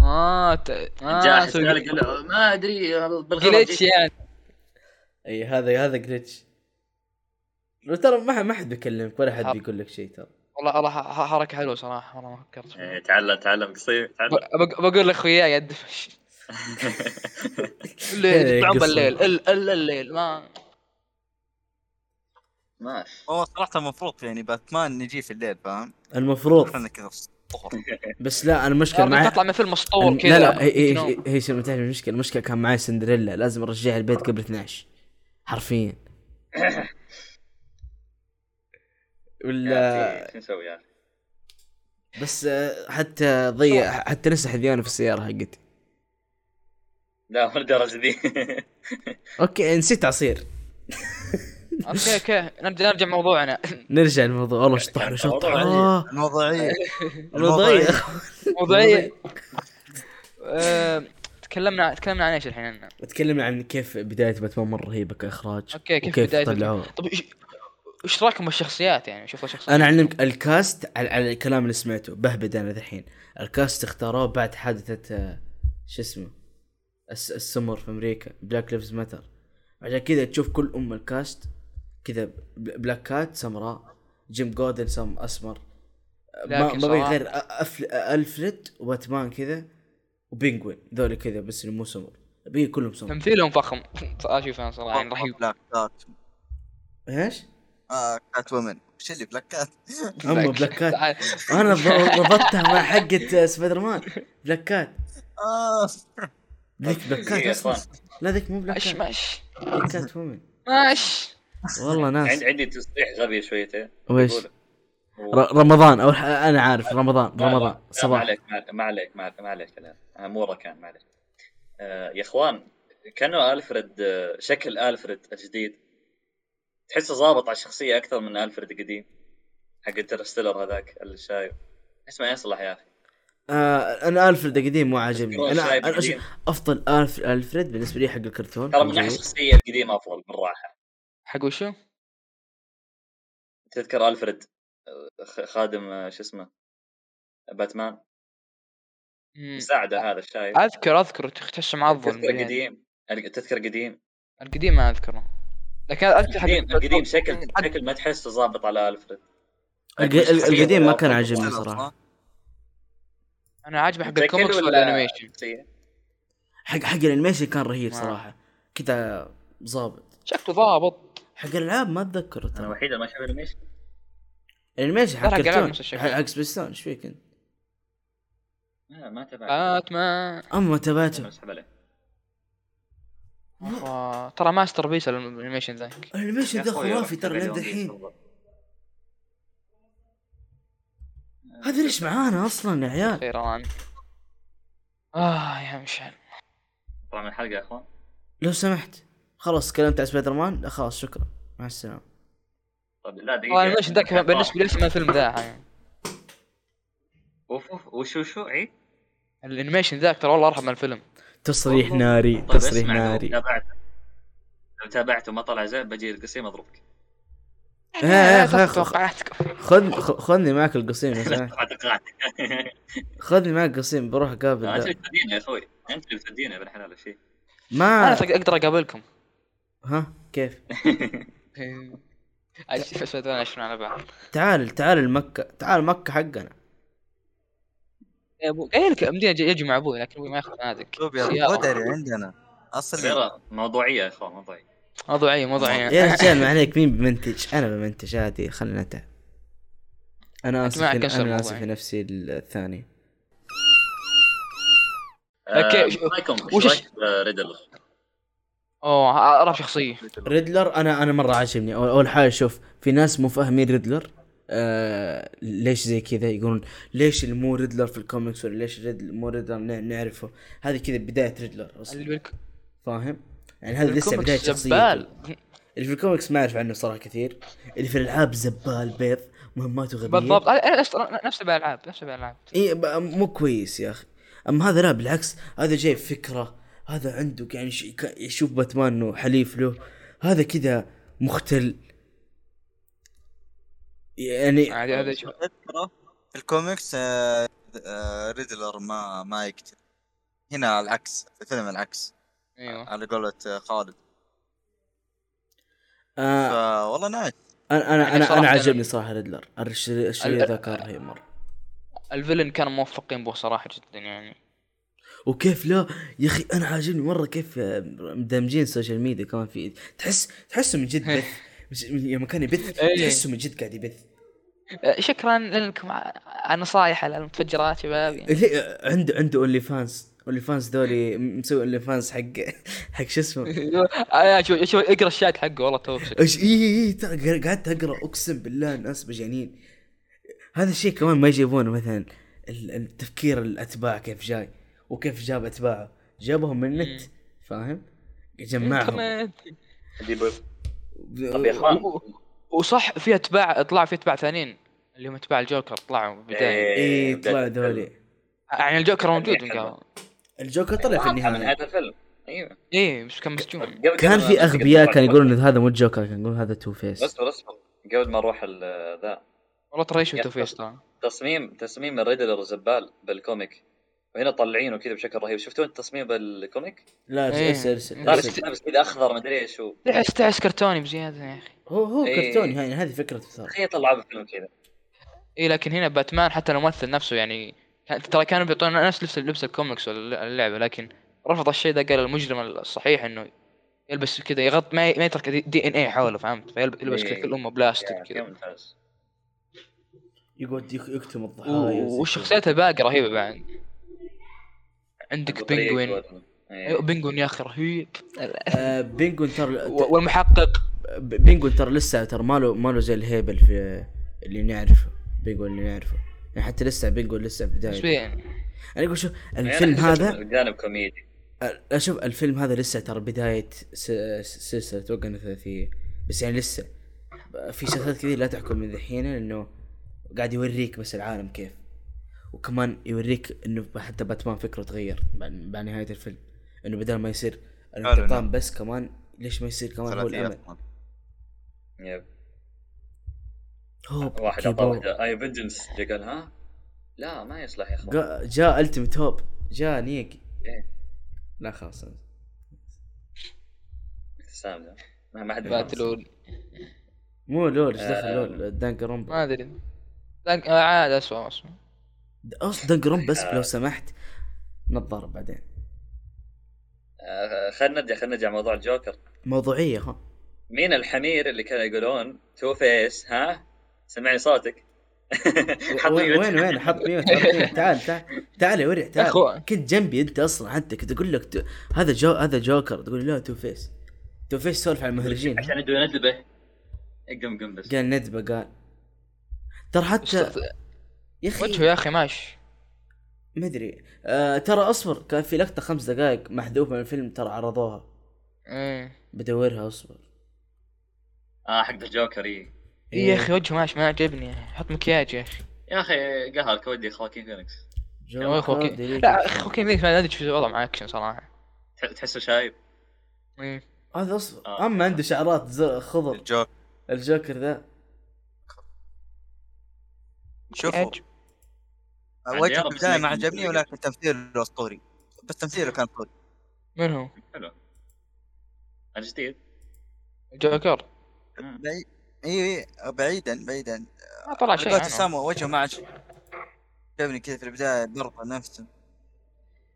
[SPEAKER 3] اه ت... اه
[SPEAKER 4] جاء أحد
[SPEAKER 3] سوي-
[SPEAKER 4] قال- قال ما ادري بالغلط
[SPEAKER 3] جليتش
[SPEAKER 4] جيت.
[SPEAKER 3] يعني
[SPEAKER 1] اي هذا هذا جلتش ترى ما ما حد بيكلمك ولا
[SPEAKER 3] حر.
[SPEAKER 1] حد بيقول لك شيء ترى
[SPEAKER 3] والله والله ح- ح- حركه حلوه صراحه والله ما فكرت فيها.
[SPEAKER 4] إيه، تعلم تعلم قصير تعلم
[SPEAKER 3] ب- بق- بقول لاخوياي يا الدفش الليل
[SPEAKER 1] إيه،
[SPEAKER 3] يطلعون
[SPEAKER 1] قصة.
[SPEAKER 3] بالليل الا الا الليل ما
[SPEAKER 4] ماشي
[SPEAKER 2] هو صراحه المفروض يعني باتمان نجيه في الليل فاهم
[SPEAKER 1] المفروض
[SPEAKER 2] احنا كذا في الص- طهر
[SPEAKER 1] بس لا انا المشكله
[SPEAKER 3] يا رجل
[SPEAKER 1] معي
[SPEAKER 3] تطلع من فيلم اسطوري كذا
[SPEAKER 1] لا إيه، لا هي
[SPEAKER 3] No.
[SPEAKER 1] هي- هي شو- ما تعرف المشكله المشكله كان معي سندريلا لازم ارجعها البيت قبل 12 حرفيا ولا
[SPEAKER 4] يا أخي، شو نسوي يعني؟ يا اخي؟
[SPEAKER 1] بس آه، حتى ضيع حتى نسى حذيانه في السياره حقتي
[SPEAKER 4] لا مو للدرجه ذي
[SPEAKER 1] اوكي نسيت عصير
[SPEAKER 3] اوكي اوكي نرجع نرجع موضوعنا
[SPEAKER 1] نرجع للموضوع والله شطحنا شطحنا
[SPEAKER 4] موضوع
[SPEAKER 1] آه،
[SPEAKER 2] الموضوعية
[SPEAKER 1] الوضعيه
[SPEAKER 3] موضوعية آه، تكلمنا تكلمنا عن ايش الحين أنا؟
[SPEAKER 1] تكلمنا عن كيف بدايه باتمان مره رهيبه كاخراج
[SPEAKER 3] اوكي كيف
[SPEAKER 1] وكيف
[SPEAKER 3] بداية
[SPEAKER 1] طلعوه
[SPEAKER 3] طب ايش ايش رايكم بالشخصيات يعني شوف الشخصيات
[SPEAKER 1] انا اعلمك الكاست على, على الكلام اللي سمعته بهبد انا ذحين الكاست اختاروه بعد حادثه آه، شو اسمه الس- السمر في امريكا بلاك ليفز ماتر عشان كذا تشوف كل ام الكاست كذا ب- بلاكات سمراء جيم جودن سم اسمر آه، ما
[SPEAKER 3] لكن
[SPEAKER 1] ما بي
[SPEAKER 3] صراحة-
[SPEAKER 1] غير أ- أفل... الفريد وباتمان كذا وبينجوين ذولي كذا بس اللي مو سمر بي كلهم سمر
[SPEAKER 3] تمثيلهم فخم اشوف انا صراحه يعني رهيب
[SPEAKER 2] بلاك كات
[SPEAKER 1] ايش؟
[SPEAKER 2] آه كات ومن وش اللي بلاك كات؟
[SPEAKER 1] اما بلاكات
[SPEAKER 3] تعال.
[SPEAKER 1] انا ض- ضبطتها مع حقة آه، سبايدر مان بلاكات
[SPEAKER 2] آه
[SPEAKER 1] ذيك بلاكات
[SPEAKER 4] يا
[SPEAKER 1] اصلا
[SPEAKER 4] إخوان.
[SPEAKER 1] لا ذيك مو بلاك
[SPEAKER 3] ماشي
[SPEAKER 1] كات
[SPEAKER 3] ماشي
[SPEAKER 1] ذيك كات وومن
[SPEAKER 3] ماشي
[SPEAKER 1] والله ناس
[SPEAKER 4] عندي عندي تصريح غبي شويتين
[SPEAKER 1] ويش
[SPEAKER 4] يقول-
[SPEAKER 1] ر- رمضان اول ح- انا عارف رمضان
[SPEAKER 4] لا، لا،
[SPEAKER 1] رمضان
[SPEAKER 4] لا، ما
[SPEAKER 1] صباح
[SPEAKER 4] عليك ما عليك- ما عليك ما عليك- ما عليك الآن. انا مو ركان يعني، ما عليك آه، يا اخوان كانوا الفريد آه، شكل الفريد الجديد تحسه ظابط على الشخصيه اكثر من الفريد القديم حق انترستيلر هذاك الشايب اسمه يصلح يا اخي
[SPEAKER 1] آه انا الفريد القديم مو عاجبني انا,
[SPEAKER 4] الشايب
[SPEAKER 1] أنا
[SPEAKER 4] القديم.
[SPEAKER 1] أشوف افضل ألف الفريد بالنسبه لي حق الكرتون
[SPEAKER 4] ترى من ناحيه الشخصيه القديمه افضل بالراحه
[SPEAKER 3] حق وشو؟
[SPEAKER 4] تذكر الفريد آه، خ- خادم آه، شو اسمه باتمان
[SPEAKER 3] مم.
[SPEAKER 4] مساعده هذا الشايب
[SPEAKER 3] اذكر اذكر تحسه معضل
[SPEAKER 1] يعني.
[SPEAKER 4] تذكر
[SPEAKER 3] مليان.
[SPEAKER 4] قديم تذكر قديم
[SPEAKER 3] يعني القديم ما اذكره لكن اذكر حق
[SPEAKER 4] القديم القديم شكل شكل ما تحسه ظابط على الفريد
[SPEAKER 1] الق- ال- القديم ما كان
[SPEAKER 4] عاجبني
[SPEAKER 1] عاجبني صراحه
[SPEAKER 3] انا عاجبه حق
[SPEAKER 4] شكل
[SPEAKER 3] الكوميكس
[SPEAKER 4] ولا-
[SPEAKER 3] والانيميشن
[SPEAKER 1] حق حق الانيميشن كان رهيب
[SPEAKER 3] آه.
[SPEAKER 1] صراحه كذا ظابط
[SPEAKER 3] شكله ضابط
[SPEAKER 1] حق الالعاب ما اتذكر
[SPEAKER 4] انا
[SPEAKER 1] ترى
[SPEAKER 4] الوحيد اللي ما شاف انيميشن
[SPEAKER 1] الانيميشن
[SPEAKER 3] ترى
[SPEAKER 1] حق
[SPEAKER 3] حق الألعاب
[SPEAKER 1] الكرتون
[SPEAKER 3] نفس الشيء.
[SPEAKER 1] حق سبيستون ايش فيك انت؟
[SPEAKER 4] لا، ما تبع
[SPEAKER 3] آه. باتمان
[SPEAKER 1] اما
[SPEAKER 4] أنا
[SPEAKER 1] تباته
[SPEAKER 4] اسحب عليه
[SPEAKER 3] أخوة. ترى ماستر بيس الانيميشن ذاك
[SPEAKER 1] الانيميشن ذا
[SPEAKER 4] يا أخوي،
[SPEAKER 1] خرافي ترى
[SPEAKER 4] رحت
[SPEAKER 1] لين
[SPEAKER 4] على
[SPEAKER 1] دحين
[SPEAKER 4] يوم
[SPEAKER 1] هذا ليش معانا اصلا يا عيال
[SPEAKER 3] خيران اه يا مشعل
[SPEAKER 4] طلع من الحلقه يا اخوان
[SPEAKER 1] لو سمحت خلاص تكلمت عن سبايدر مان خلاص شكرا مع السلامه
[SPEAKER 4] طب لا دقيقه
[SPEAKER 3] والله الانيميشن ذاك بالنسبه لي اسمه الفيلم ذا يعني
[SPEAKER 4] اوف اوف وشو شو عيد
[SPEAKER 3] الانيميشن ذاك ترى والله ارحم من الفيلم
[SPEAKER 1] تصريح ناري
[SPEAKER 4] طيب
[SPEAKER 1] تصريح
[SPEAKER 4] اسمع لو
[SPEAKER 1] ناري
[SPEAKER 4] تابعته لو تابعته ما طلع زين بجي القصيم اضربك
[SPEAKER 1] إيه، إيه، خ- خ-
[SPEAKER 3] توقعاتك
[SPEAKER 1] خذ خ- خذني معك القصيم لو
[SPEAKER 4] لا
[SPEAKER 1] سمحت.
[SPEAKER 4] تقع تقع
[SPEAKER 1] خذني معك القصيم بروح اقابل
[SPEAKER 4] انت اللي
[SPEAKER 1] ذا.
[SPEAKER 4] بتدينا يا اخوي انت اللي بتدينا يا ابن حلال الشيء
[SPEAKER 3] انا
[SPEAKER 1] ما
[SPEAKER 3] تق- اقدر اقابلكم
[SPEAKER 1] ها كيف
[SPEAKER 3] إيه. اشوف اسود وانا اشوف على بعض
[SPEAKER 1] تعال تعال المكة تعال مكة حقنا
[SPEAKER 3] يا ابو ايه لك مدينه يجي- يجي مع ابوي لكن ابوي ما ياخذ نادك
[SPEAKER 1] طيب
[SPEAKER 2] شوف يا
[SPEAKER 3] سيارة.
[SPEAKER 2] ودري عندنا اصلي
[SPEAKER 4] ترى موضوعيه يا اخوان موضوعيه
[SPEAKER 3] موضوعيه موضوعيه
[SPEAKER 1] يا رجال ما عليك مين بمنتج انا بمنتج عادي خلينا نتعب انا اسف
[SPEAKER 3] معك كسر
[SPEAKER 1] انا
[SPEAKER 3] الموضوع.
[SPEAKER 1] اسف لنفسي الثاني
[SPEAKER 3] أوكي،
[SPEAKER 4] آه،
[SPEAKER 3] شو-
[SPEAKER 4] رايكم
[SPEAKER 3] وش-
[SPEAKER 4] وش رايك بريدل
[SPEAKER 3] اوه اعرف شخصيه
[SPEAKER 1] ريدلر انا انا مره عاجبني أول- اول حاجه شوف في ناس مو فاهمين ريدلر آه ليش زي كذا يقولون ليش اللي مو ريدلر في الكوميكس ولا ليش ريدل مو ريدلر نع- نعرفه هذه كذا بدايه ريدلر
[SPEAKER 3] اللي
[SPEAKER 1] اصلا
[SPEAKER 3] بالك-
[SPEAKER 1] فاهم يعني هذا لسه طيب،
[SPEAKER 3] بالكوميكس
[SPEAKER 1] بدايه شخصيه
[SPEAKER 3] زبال
[SPEAKER 1] اللي في الكوميكس ما اعرف عنه صراحه كثير اللي في الالعاب زبال بيض مهماته غبيه
[SPEAKER 3] بالضبط أنا- أنا نفس نفس الالعاب نفس الالعاب
[SPEAKER 1] اي إيه، ب- مو كويس يا اخي اما هذا لا بالعكس هذا جاي فكره هذا عنده يعني ش- ك- يشوف باتمان انه حليف له هذا كذا مختل يعني
[SPEAKER 3] عادي هذا شوف
[SPEAKER 2] اذكره في الكوميكس آه، آه، ريدلر ما ما يقتل هنا العكس في الفيلم العكس
[SPEAKER 4] أه.
[SPEAKER 3] ايوه
[SPEAKER 2] على قولة آه، خالد
[SPEAKER 1] آه
[SPEAKER 2] فوالله نايس
[SPEAKER 1] انا انا
[SPEAKER 3] يعني
[SPEAKER 1] انا,
[SPEAKER 3] صراحة
[SPEAKER 1] أنا
[SPEAKER 3] أنا-
[SPEAKER 1] عجبني صراحه ريدلر الش- الشيء
[SPEAKER 3] ال-
[SPEAKER 1] ذا كان رهيب مره
[SPEAKER 3] الفيلن كانوا موفقين به صراحه جدا يعني
[SPEAKER 1] وكيف لا يا اخي انا عاجبني مره كيف آه، مدمجين السوشيال ميديا كمان في تحس تحسه من جد بث مش- يوم كان يبث
[SPEAKER 3] إيه.
[SPEAKER 1] تحسه من جد قاعد يبث
[SPEAKER 3] شكرا إيه، لكم على النصائح على المتفجرات شباب يعني.
[SPEAKER 1] ليه- عنده عنده اونلي فانز اونلي فانز ذولي مسوي اونلي فانز حق حق شو اسمه
[SPEAKER 3] أنا شوف شوف اقرا الشات حقه والله توفسك
[SPEAKER 1] ايش اي اي إي، إيه، ترى قعدت اقرا اقسم بالله الناس مجانين هذا الشيء كمان ما يجيبونه مثلا ال- التفكير الاتباع كيف جاي وكيف جاب اتباعه جابهم من النت فاهم؟ جمعهم
[SPEAKER 4] طب يا اخوان
[SPEAKER 3] وصح في اتباع طلع في اتباع ثانيين اللي هم اتباع الجوكر طلعوا من البدايه
[SPEAKER 1] اي
[SPEAKER 4] بداية
[SPEAKER 1] إيه، طلع
[SPEAKER 4] الفيلم.
[SPEAKER 1] ذولي
[SPEAKER 3] يعني الجوكر موجود من
[SPEAKER 4] حلوة.
[SPEAKER 3] قبل
[SPEAKER 1] الجوكر طلع في
[SPEAKER 4] واضحة من
[SPEAKER 1] النهايه
[SPEAKER 4] هذا الفيلم ايوه
[SPEAKER 3] ايه بس كان مسجون
[SPEAKER 4] قبل-
[SPEAKER 1] كان
[SPEAKER 4] قبل ما-
[SPEAKER 1] في اغبياء كانوا يقولون إن هذا مو الجوكر كانوا يقولون هذا تو فيس
[SPEAKER 4] اصبر اصبر قبل ما اروح ال- ذا
[SPEAKER 3] والله ترى ايش
[SPEAKER 4] يا
[SPEAKER 3] توفيس ترى
[SPEAKER 4] تصميم تصميم الريدلر زبال بالكوميك وهنا طلعينه كذا بشكل رهيب شفتوا انت التصميم بالكوميك؟
[SPEAKER 1] لا
[SPEAKER 3] إيه.
[SPEAKER 1] ارسل ارسل
[SPEAKER 4] لابس
[SPEAKER 1] ارسل
[SPEAKER 3] بس-
[SPEAKER 4] لابس كذا اخضر مدري ايش هو
[SPEAKER 3] تحس تحس كرتوني بزياده يا اخي
[SPEAKER 1] هو هو
[SPEAKER 4] إيه.
[SPEAKER 1] كرتون يعني هذه فكرته ترى
[SPEAKER 4] تخيل طلعوه بالفيلم كذا
[SPEAKER 3] ايه لكن هنا باتمان حتى الممثل نفسه يعني كان- ترى كانوا بيعطونا نفس لبس لبس الكوميكس ولا اللعبه لكن رفض الشيء ذا قال المجرم الصحيح انه يلبس كذا يغط ما ما يترك دي ان اي حوله فهمت فيلبس كذا
[SPEAKER 4] إيه.
[SPEAKER 3] كل امه بلاستيك
[SPEAKER 4] يا، كيف
[SPEAKER 3] كذا
[SPEAKER 4] ممتاز
[SPEAKER 1] يقعد يك- يكتم الضحايا وزي كذا.
[SPEAKER 3] والشخصيات الباقي رهيبه بعد عندك
[SPEAKER 4] البطريق
[SPEAKER 3] بنجوين
[SPEAKER 4] وال-
[SPEAKER 3] ايوه
[SPEAKER 1] أيوه.
[SPEAKER 4] إيه.
[SPEAKER 3] بنجوين يا اخي رهيب
[SPEAKER 1] آه، بينجون ترى
[SPEAKER 3] و- والمحقق
[SPEAKER 1] ب- بينجون ترى لسه ترى ماله ماله زي الهيبل في اللي نعرفه بينجون اللي نعرفه يعني حتى لسه بينجون لسه بداية
[SPEAKER 3] نسبيا
[SPEAKER 1] انا اقول شوف
[SPEAKER 4] يعني
[SPEAKER 1] الفيلم
[SPEAKER 4] أنا أحس
[SPEAKER 1] هذا
[SPEAKER 4] جانب كوميدي
[SPEAKER 1] اشوف الفيلم هذا لسه ترى بداية س- س- سلسلة وقنا الثلاثية بس يعني لسه في سلسلات كثير لا تحكم من ذحين لانه قاعد يوريك بس العالم كيف وكمان يوريك انه حتى باتمان فكره تغير بعد بعد نهاية الفيلم انه بدل ما يصير الانتقام
[SPEAKER 2] نعم.
[SPEAKER 1] بس كمان ليش ما يصير كمان هو الامل
[SPEAKER 2] ثلاثية
[SPEAKER 4] يب.
[SPEAKER 1] هوب
[SPEAKER 4] واحد
[SPEAKER 1] كيبو.
[SPEAKER 4] اعطاه واحده اي فينجنس قال ها لا ما يصلح يا اخوان
[SPEAKER 1] جا- جاء التيمت هوب جاء نيك
[SPEAKER 4] إيه.
[SPEAKER 1] لا خلاص
[SPEAKER 4] ابتسام ذا ما ما حد يفهم.
[SPEAKER 3] باتلون
[SPEAKER 1] مو لول ايش دخل
[SPEAKER 4] آه.
[SPEAKER 1] لول دانك رومبا
[SPEAKER 3] ما ادري لكن- آه، عاد اسوء اسوء
[SPEAKER 1] اصلا دانك رومبا بس
[SPEAKER 4] آه.
[SPEAKER 1] لو سمحت نتضارب بعدين
[SPEAKER 4] آه، خلينا نرجع خلينا نرجع موضوع الجوكر
[SPEAKER 1] موضوعيه ها
[SPEAKER 4] مين الحمير اللي كانوا يقولون تو فيس ها سمعني صوتك حط
[SPEAKER 1] وين
[SPEAKER 4] ميوت.
[SPEAKER 1] وين وين حط ميوت حط ميوت تعال تعال تعال يا ورع
[SPEAKER 3] أخو-
[SPEAKER 1] تعال كنت جنبي انت اصلا حتى كنت اقول لك تو- هذا جو هذا جوكر تقول لا تو فيس تو فيس سولف على المهرجين
[SPEAKER 4] عشان يدوا ندبه قم قم بس
[SPEAKER 1] قال ندبه قال ترى حتى يا
[SPEAKER 3] وجهه
[SPEAKER 1] اخي
[SPEAKER 3] يا اخي ماشي
[SPEAKER 1] مدري آه ترى اصبر كان في لقطه خمس دقائق محذوفه من الفيلم ترى عرضوها
[SPEAKER 3] ايه
[SPEAKER 1] بدورها اصبر
[SPEAKER 4] اه حق الجوكر اي
[SPEAKER 3] إيه يا اخي وجهه ماشي ما عجبني حط مكياج يا اخي
[SPEAKER 4] يا اخي قهرك ودي خواكين فينيكس
[SPEAKER 3] يا اخي
[SPEAKER 1] جوكر
[SPEAKER 3] خوكين
[SPEAKER 1] ديليت.
[SPEAKER 3] لا اخي خوكين ذيك ما ادري شو الوضع مع اكشن صراحه
[SPEAKER 4] تح- تحسه شايب
[SPEAKER 3] إيه.
[SPEAKER 1] هذا اصبر
[SPEAKER 4] آه.
[SPEAKER 1] اما عنده شعرات زر- خضر
[SPEAKER 2] الجوك
[SPEAKER 1] الجوكر ذا
[SPEAKER 2] شوفوا
[SPEAKER 3] مكياج.
[SPEAKER 4] عن
[SPEAKER 2] وجه
[SPEAKER 4] جيرب
[SPEAKER 2] البدايه ما
[SPEAKER 4] سميث.
[SPEAKER 2] عجبني ولكن تمثيله اسطوري بس تمثيله كان اسطوري
[SPEAKER 3] من هو؟
[SPEAKER 4] حلو الجديد
[SPEAKER 3] جوكر
[SPEAKER 4] مم.
[SPEAKER 2] بعيد اي إي، بعيدا بعيدا
[SPEAKER 3] ما طلع آه، شيء
[SPEAKER 2] لقيت
[SPEAKER 3] عنه.
[SPEAKER 2] سامو وجهه ما عجبني عجبني كذا في البدايه برضه نفسه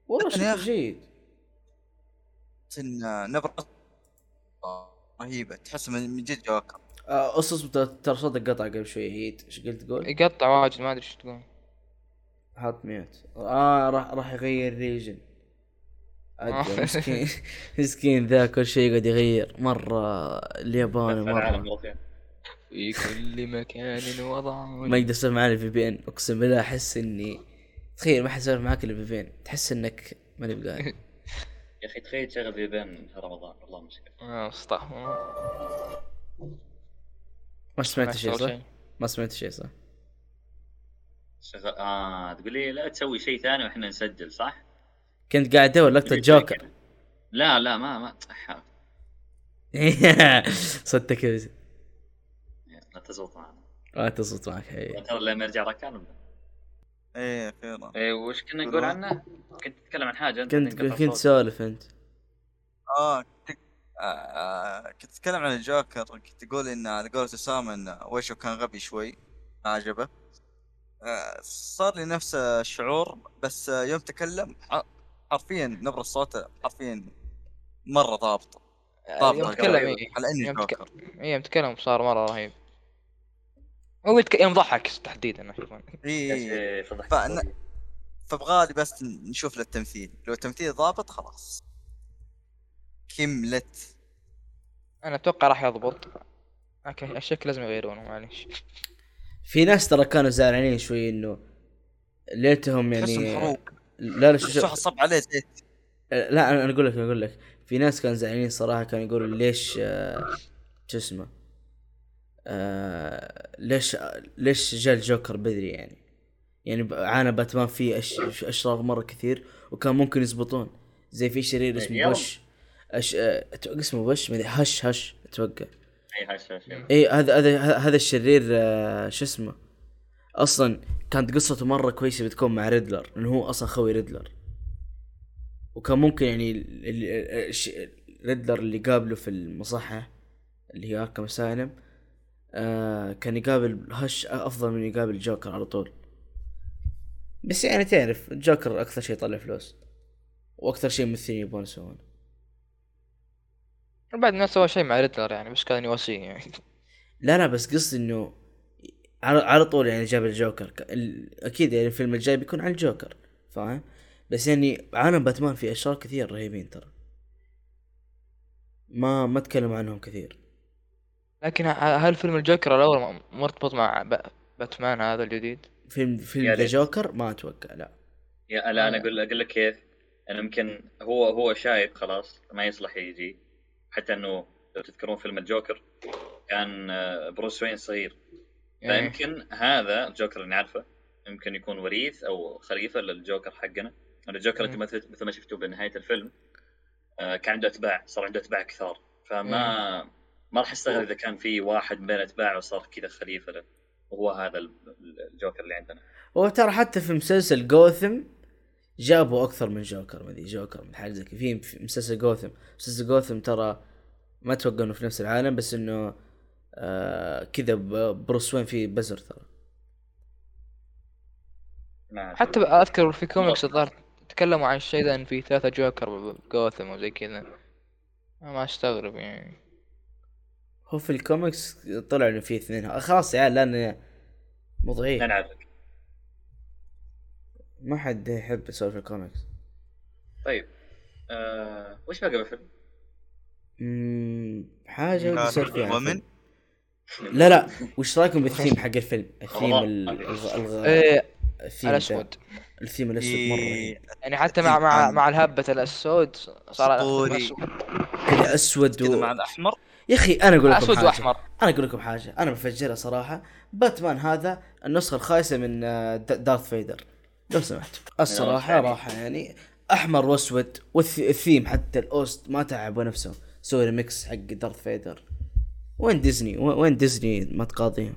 [SPEAKER 1] والله
[SPEAKER 2] لكن يا
[SPEAKER 1] شكله جيد
[SPEAKER 2] إن نبرة رهيبه تحس من من جد جوكر
[SPEAKER 1] آه، اصبر ترى- ترى صوتك قطع قبل شوي هيت ايش قلت تقول؟
[SPEAKER 3] يقطع واجد ما ادري شو تقول
[SPEAKER 1] حط ميوت اه راح راح يغير ريجن أدري،
[SPEAKER 3] آه.
[SPEAKER 1] مسكين مسكين ذا كل شيء يقعد يغير مره اليابان
[SPEAKER 4] دخل العالم
[SPEAKER 1] مره
[SPEAKER 4] مرتين
[SPEAKER 3] في كل مكان وضع
[SPEAKER 1] ما يقدر يسولف معي في بي ان اقسم بالله احس اني تخيل ما حد يسولف معاك الا في بي ان تحس انك ماني بقاعد
[SPEAKER 4] يا اخي تخيل تشغل في بين في رمضان والله مشكله
[SPEAKER 3] آه، استغفر الله.
[SPEAKER 1] ما سمعت
[SPEAKER 3] ما
[SPEAKER 1] شيء
[SPEAKER 3] أشتغل
[SPEAKER 1] صح؟ ما سمعت شيء صح؟
[SPEAKER 4] شغل اه تقول لي لا تسوي شيء ثاني واحنا نسجل صح؟
[SPEAKER 1] كنت قاعد ادور لقطه جوكر
[SPEAKER 4] لا لا ما ما أح-
[SPEAKER 1] صدق كذا
[SPEAKER 4] لا تزبط معنا
[SPEAKER 1] ما تصوت معك حقيقي
[SPEAKER 4] ترى لما يرجع ركان
[SPEAKER 2] ايه اخيرا
[SPEAKER 4] إيه وش كنا نقول عنه؟ كنت تتكلم عن حاجه انت
[SPEAKER 1] كنت
[SPEAKER 4] بعدين قطعت
[SPEAKER 1] كنت
[SPEAKER 4] صوت.
[SPEAKER 1] سولف انت
[SPEAKER 2] اه كنت آه، آه، كنت اتكلم عن الجوكر كنت اقول ان على قولة اسامه ان وشه كان غبي شوي ما عجبه آه، صار لي نفس الشعور بس آه، يوم تكلم ح- حرفيا نبرة صوته حرفيا مرة ضابطة
[SPEAKER 3] آه،
[SPEAKER 2] ضابطة
[SPEAKER 3] يوم
[SPEAKER 2] على-
[SPEAKER 3] تكلم إيه.
[SPEAKER 2] على اني
[SPEAKER 3] يوم
[SPEAKER 2] جوكر
[SPEAKER 3] تك- ايه يوم تكلم صار مره رهيب هو يتك... يوم ضحك تحديدا اشوف أنا.
[SPEAKER 2] اي
[SPEAKER 4] إيه، فضحك
[SPEAKER 2] فأنا-
[SPEAKER 4] شوي.
[SPEAKER 2] فبغالي بس ن- نشوف له التمثيل لو التمثيل ضابط خلاص كملت
[SPEAKER 3] انا اتوقع راح يضبط لكن الشكل لازم يغيرونه معليش
[SPEAKER 1] في ناس ترى كانوا زعلانين شوي انه ليتهم
[SPEAKER 2] تحس
[SPEAKER 1] يعني
[SPEAKER 2] محروق
[SPEAKER 1] لا لا شوف
[SPEAKER 2] تحسه
[SPEAKER 1] شوف
[SPEAKER 2] صب عليه زيت
[SPEAKER 1] لا انا أنا اقول لك اقول لك في ناس كانوا زعلانين صراحه كانوا يقولوا ليش آه، شو اسمه آه، ليش ليش جاء الجوكر بدري يعني يعني ب- عانى باتمان فيه أش- اشرار مره كثير وكان ممكن يزبطون زي في شرير اسمه
[SPEAKER 4] يلا.
[SPEAKER 1] بوش أش... آه، أتوقع اسمه بوش ما أدري، هش هش اتوقع
[SPEAKER 4] إيه، هش- هش- هش.
[SPEAKER 1] اي هذا هذا هذا الشرير آه، شو اسمه اصلا كانت قصته مره كويسه بتكون مع ريدلر لانه هو اصلا خوي ريدلر وكان ممكن يعني ال- ال- الش- ريدلر اللي قابله في المصحة اللي هي اركم اسايلم آه كان يقابل هش افضل من يقابل جوكر على طول بس يعني تعرف جوكر اكثر شيء يطلع فلوس واكثر شيء ممثلين يبون يسوونه
[SPEAKER 3] بعد ما سوى شيء مع ريدلر يعني بس كان يواسيه يعني
[SPEAKER 1] لا لا بس قصدي انه على على طول يعني جاب الجوكر ك- ال- اكيد يعني الفيلم الجاي بيكون عن الجوكر فاهم بس يعني عالم باتمان فيه اشرار كثير رهيبين ترى ما ما تكلم عنهم كثير
[SPEAKER 3] لكن ه- هل فيلم الجوكر الاول م- مرتبط مع ب... باتمان هذا الجديد؟
[SPEAKER 1] فيلم
[SPEAKER 4] يا
[SPEAKER 1] فيلم ذا
[SPEAKER 4] ريت.
[SPEAKER 1] جوكر ما اتوقع لا
[SPEAKER 4] يا لا انا
[SPEAKER 1] آه.
[SPEAKER 4] اقول اقول لك كيف انا يمكن هو هو شايب خلاص ما يصلح يجي حتى انه لو تذكرون فيلم الجوكر كان آه، بروس وين صغير
[SPEAKER 3] يعني
[SPEAKER 4] فيمكن هذا الجوكر اللي نعرفه يمكن يكون وريث او خليفه للجوكر حقنا لأن الجوكر انت
[SPEAKER 3] مم.
[SPEAKER 4] مثل مثل ما شفتوا بنهايه الفيلم آه، كان عنده اتباع صار عنده اتباع كثار فما ما راح استغرب اذا كان في واحد من اتباعه صار كذا خليفه له وهو هذا ال- الجوكر اللي عندنا
[SPEAKER 1] وترى حتى في مسلسل جوثم جابوا اكثر من جوكر مدري جوكر من حاجه زي كذا في في مسلسل جوثم مسلسل جوثم ترى ما اتوقع انه في نفس العالم بس انه آه كذا ب- بروس وين فيه بزر ترى
[SPEAKER 4] ما أعرف.
[SPEAKER 3] حتى ب- اذكر في كوميكس الظاهر تكلموا عن الشيء ذا ان في ثلاثة جوكر بجوثم وزي كذا ما استغرب يعني
[SPEAKER 1] هو في الكوميكس طلع انه في اثنين خلاص يا عيال لان
[SPEAKER 4] انا
[SPEAKER 1] مضعيف
[SPEAKER 4] نعرفك
[SPEAKER 1] ما حد يحب يسولف الكوميكس
[SPEAKER 4] طيب آه، وش باقي بالفيلم؟
[SPEAKER 1] اممم حاجه ودي
[SPEAKER 2] قال
[SPEAKER 1] اسولف فيها عن
[SPEAKER 2] ومن؟
[SPEAKER 1] الفيلم. لا لا وش رايكم بالثيم حق الفيلم؟ الثيم ال- الغ... الغ...
[SPEAKER 3] ايه
[SPEAKER 1] الثيم ذا.
[SPEAKER 3] الاسود
[SPEAKER 1] الثيم الاسود مره رهيب.
[SPEAKER 2] إيه.
[SPEAKER 3] يعني حتى مع مع مع الهبة الاسود صار
[SPEAKER 2] أسطوري.
[SPEAKER 3] أسود-
[SPEAKER 1] كذا اسود
[SPEAKER 2] كذا مع
[SPEAKER 1] و...
[SPEAKER 2] الاحمر
[SPEAKER 1] يا اخي انا اقول لكم
[SPEAKER 3] اسود
[SPEAKER 1] حاجة.
[SPEAKER 3] واحمر
[SPEAKER 1] انا اقول لكم حاجه انا بفجرها صراحه باتمان هذا النسخه الخايسه من آه، د- دارث فيدر لو سمحت الصراحه
[SPEAKER 4] يعني.
[SPEAKER 1] راحه يعني احمر واسود والثيم حتى الاوست ما تعبوا نفسهم سووا ريمكس حق دارث فيدر وين ديزني و- وين ديزني ما تقاضيهم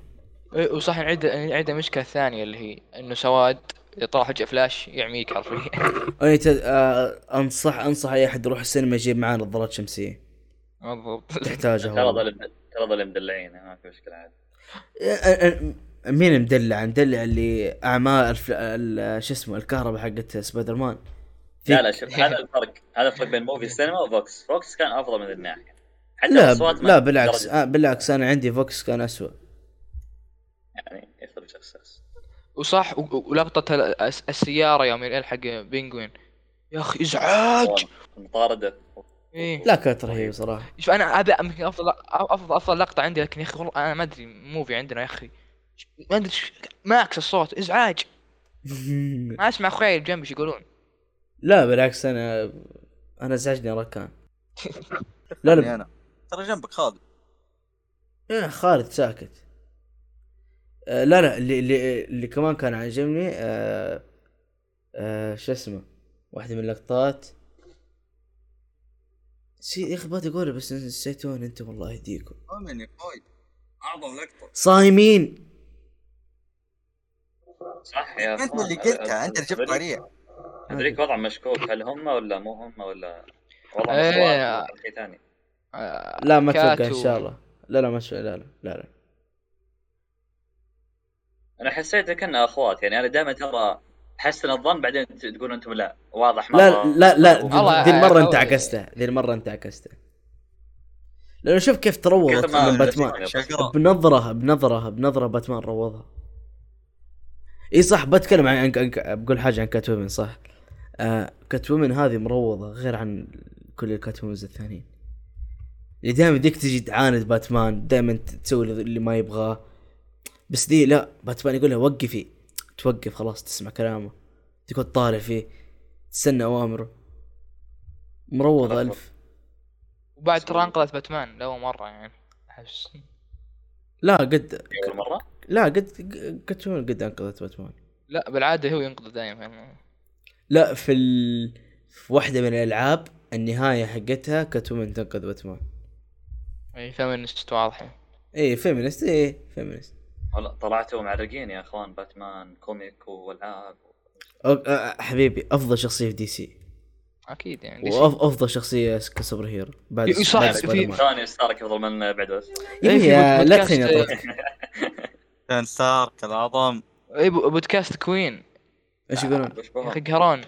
[SPEAKER 3] إيه، وصح نعيد نعيد المشكلة الثانية اللي هي انه سواد اذا طلع فجأة فلاش يعميك حرفيا
[SPEAKER 1] أنا ت- آه، انصح انصح اي احد يروح السينما يجيب معاه نظارات شمسيه
[SPEAKER 3] بالضبط
[SPEAKER 1] تحتاجها
[SPEAKER 4] ترى
[SPEAKER 1] والله.
[SPEAKER 4] ظل ترى ظل مدلعين ما في مشكله عاد
[SPEAKER 1] آه، آه، مين مدلع مدلع اللي اعمال الف- ال- شو اسمه الكهرباء حقت سبايدر مان
[SPEAKER 4] لا لا شوف هذا الفرق هذا الفرق بين موفي سينما وفوكس فوكس كان افضل من ذي الناحيه حتى
[SPEAKER 1] لا
[SPEAKER 4] الأصوات ما
[SPEAKER 1] لا
[SPEAKER 4] كانت
[SPEAKER 1] بالعكس
[SPEAKER 4] درجة.
[SPEAKER 1] آه بالعكس انا عندي فوكس كان اسوء
[SPEAKER 4] يعني يختلف شخص شخص
[SPEAKER 3] وصح و- و- ولقطة ال- الس- السيارة يوم يلحق بينجوين يا اخي ازعاج
[SPEAKER 4] مطارده
[SPEAKER 3] ايه
[SPEAKER 1] لا كانت رهيبه صراحه
[SPEAKER 3] شوف انا هذا يمكن افضل افضل افضل لقطه عندي لكن يا اخي والله انا ما ادري موفي عندنا يا اخي ما ادري إيش- ماكس الصوت ازعاج ما اسمع اخوي اللي جنبي إيش يقولون
[SPEAKER 1] لا بالعكس انا انا زعجني ركان لا
[SPEAKER 2] يعني
[SPEAKER 1] لا
[SPEAKER 2] انا ترى جنبك خالد
[SPEAKER 1] إيه، خالد ساكت آه لا لا اللي اللي اللي كمان كان عاجبني آه آه شو اسمه واحده من اللقطات سي يا اخي بغيت اقوله بس نسيتون انتم والله يهديكم
[SPEAKER 2] ومن يا اخوي اعظم لقطه
[SPEAKER 1] صايمين
[SPEAKER 4] صح يا
[SPEAKER 2] انت
[SPEAKER 4] أخوان.
[SPEAKER 2] اللي قلتها انت اللي
[SPEAKER 4] هذوليك-
[SPEAKER 2] جبت طريقه
[SPEAKER 4] هذوليك وضع مشكوك هل هم ولا مو هم ولا وضع
[SPEAKER 3] إيه.
[SPEAKER 4] مشكوك ولا شيء ثاني
[SPEAKER 3] آه،
[SPEAKER 1] لا ما
[SPEAKER 3] كات
[SPEAKER 1] اتوقع ان
[SPEAKER 3] و-
[SPEAKER 1] شاء الله لا لا ما شاء لا لا لا, لا.
[SPEAKER 4] انا حسيت كنا اخوات يعني انا دائما ترى حسن الظن بعدين ت- تقول انتم لا واضح
[SPEAKER 1] لا لا لا
[SPEAKER 4] والله
[SPEAKER 1] ذي المرة
[SPEAKER 3] أو-
[SPEAKER 1] انت عكستها ذي المرة انت عكستها لانه شوف كيف تروضت
[SPEAKER 4] ما-
[SPEAKER 1] من باتمان
[SPEAKER 2] شقرة.
[SPEAKER 1] بنظره بنظره بنظره باتمان روضها اي صح بتكلم عن, عن... عن... بقول حاجه عن كات وومن صح آه كات وومن هذه مروضه غير عن كل الكات وومنز الثانيين اللي دائما ديك تجي تعاند باتمان دائما تسوي اللي ما يبغاه بس دي لا باتمان يقول لها وقفي توقف خلاص تسمع كلامه تقعد طالع فيه تستنى اوامره مروضه
[SPEAKER 4] أكبر.
[SPEAKER 1] الف
[SPEAKER 3] وبعد ترى انقذت باتمان لاول مره يعني احس
[SPEAKER 1] لا قد
[SPEAKER 4] اول مره
[SPEAKER 1] لا قد قد شو قد انقذت باتمان
[SPEAKER 3] لا بالعاده هو ينقذ دائما يعني
[SPEAKER 1] لا في ال... في واحدة من الالعاب النهاية حقتها كاتومن تنقذ باتمان
[SPEAKER 3] اي فيمنست واضحه
[SPEAKER 1] ايه فيمنست ايه فيمنست
[SPEAKER 4] والله طلعتوا معرقين يا اخوان باتمان كوميك والعاب
[SPEAKER 1] أوك... آه حبيبي افضل شخصية في دي سي
[SPEAKER 3] اكيد يعني دي
[SPEAKER 1] وافضل شخصية كسوبر هيرو بعد
[SPEAKER 3] إيه، صح،
[SPEAKER 1] بعد
[SPEAKER 3] في-
[SPEAKER 1] سبايدر مان.
[SPEAKER 4] ثاني ستارك يفضل من بعد بس
[SPEAKER 1] يا
[SPEAKER 3] إيه، في
[SPEAKER 1] أخي،
[SPEAKER 3] بود-
[SPEAKER 1] لا
[SPEAKER 3] بودكاست-
[SPEAKER 1] تخليني أطرد.
[SPEAKER 2] كان ستارك العظم
[SPEAKER 3] اي إيه، بو- بودكاست كوين
[SPEAKER 1] ايش يقولون؟
[SPEAKER 4] وش
[SPEAKER 3] يا
[SPEAKER 4] بهم؟
[SPEAKER 3] اخي قهران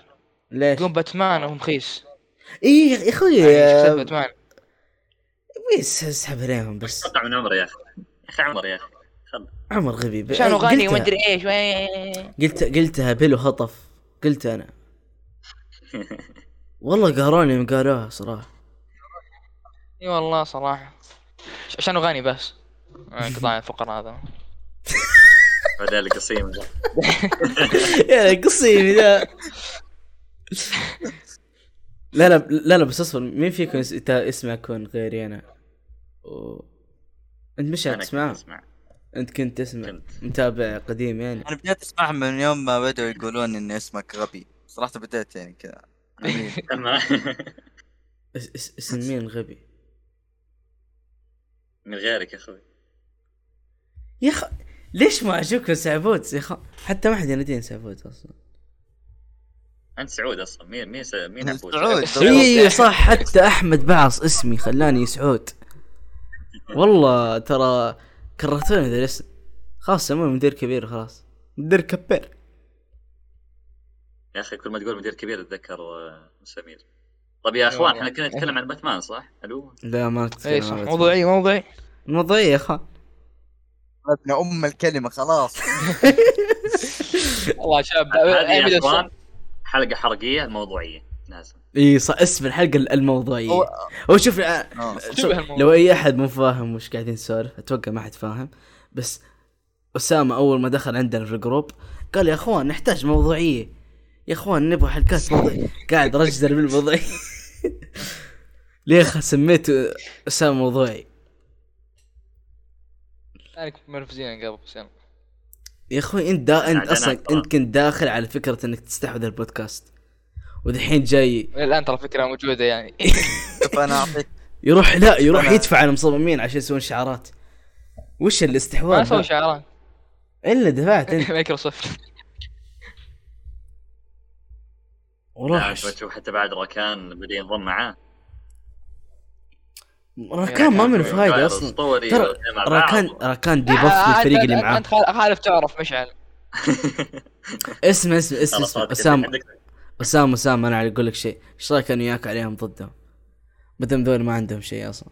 [SPEAKER 1] ليش؟
[SPEAKER 3] يقول باتمان وهو مخيس
[SPEAKER 1] ايه يا اخوي
[SPEAKER 3] يعني شخصية
[SPEAKER 1] آه،
[SPEAKER 3] باتمان
[SPEAKER 1] بس اسحب عليهم بس
[SPEAKER 4] قطع من عمره يا اخي يا اخي عمر يا اخي
[SPEAKER 1] عمر غبي ب-
[SPEAKER 3] عشان اغاني
[SPEAKER 1] قلتها-
[SPEAKER 3] وما ادري ايش وي-
[SPEAKER 1] قلت قلتها بلو هطف قلت انا والله قهروني يوم قالوها صراحة
[SPEAKER 3] اي والله صراحه عشان اغاني بس آه، قطع الفقرة هذا
[SPEAKER 4] بعدين القصيم ذا.
[SPEAKER 1] يا قصيمي إيه، ذا لا لا لا لا بس اصبر مين فيكم اس- تا- اسمه كون غيري انا؟ و... انت مش
[SPEAKER 4] أنا كنت
[SPEAKER 1] تسمع
[SPEAKER 4] اسمع
[SPEAKER 1] انت كنت تسمع
[SPEAKER 4] كنت
[SPEAKER 1] متابع قديم يعني
[SPEAKER 2] انا بديت اسمعهم من يوم ما بدأوا يقولون ان اسمك غبي صراحة بديت يعني كذا عميل.
[SPEAKER 4] أما-
[SPEAKER 1] اس- اس- اسم مين غبي؟
[SPEAKER 4] من غيرك يا اخوي
[SPEAKER 1] يا خ... ليش ما اشوفك سعبوت يا خ... حتى ما حد يناديني سعبوت اصلا
[SPEAKER 4] انت سعود اصلا مين مين س- مين أبوك؟
[SPEAKER 2] سعود.
[SPEAKER 1] اي إيه، صح حتى احمد بعص اسمي خلاني سعود والله ترى كرهتوني ذا الاسم خلاص سموني مدير كبير خلاص مدير كبير
[SPEAKER 4] يا اخي كل ما تقول مدير كبير اتذكر آه، سمير طب يا اخوان احنا كنا نتكلم عن باتمان صح؟ الو
[SPEAKER 1] لا ما
[SPEAKER 3] اي صح موضوعي موضعي
[SPEAKER 1] موضوعي يا اخوان
[SPEAKER 2] ابن ام الكلمة خلاص
[SPEAKER 3] والله شاب
[SPEAKER 4] هذه يا
[SPEAKER 3] أبدأ
[SPEAKER 4] اخوان حلقه حرقيه موضوعيه لازم
[SPEAKER 1] اي صح اسم الحلقه الموضوعيه
[SPEAKER 2] هو-
[SPEAKER 1] هو شوف آه،
[SPEAKER 2] آه.
[SPEAKER 1] شوف، لو اي احد مو فاهم وش قاعدين نسولف اتوقع ما حد فاهم بس اسامه اول ما دخل عندنا في الجروب قال يا اخوان نحتاج موضوعيه يا اخوان نبغى حلقات موضوعيه قاعد رجل بالموضوعيه ليه خ- سميته اسامه موضوعي
[SPEAKER 3] انا كنت منرفزين قبل بس يلا
[SPEAKER 1] يا اخوي انت دا انت
[SPEAKER 4] عندنا
[SPEAKER 1] اصلا
[SPEAKER 4] أكثر.
[SPEAKER 1] انت كنت داخل على فكره انك تستحوذ البودكاست ودحين جاي
[SPEAKER 3] الان ترى فكره موجوده يعني
[SPEAKER 1] إيه،
[SPEAKER 2] شوف انا اعطيك
[SPEAKER 1] يروح لا يروح
[SPEAKER 2] أنا-
[SPEAKER 1] يدفع على المصممين عشان يسوون شعارات وش
[SPEAKER 3] ما
[SPEAKER 1] الاستحواذ
[SPEAKER 3] اسوي
[SPEAKER 1] ده؟
[SPEAKER 3] شعارات
[SPEAKER 1] الا دفعت انت
[SPEAKER 3] مايكروسوفت
[SPEAKER 1] وروح
[SPEAKER 4] يعني تشوف حتى بعد راكان بدا ينضم معاه
[SPEAKER 1] راكان ما من فايده اصلا ترى راكان راكان ديبف
[SPEAKER 3] آه،
[SPEAKER 1] للفريق اللي معاه
[SPEAKER 3] انت خال- خالف تعرف مشعل
[SPEAKER 1] اسم اسم اسم اسم اسامه اسامه اسامه انا اقول لك شيء ايش رايك انا وياك عليهم ضدهم بدهم ذول ما عندهم شيء اصلا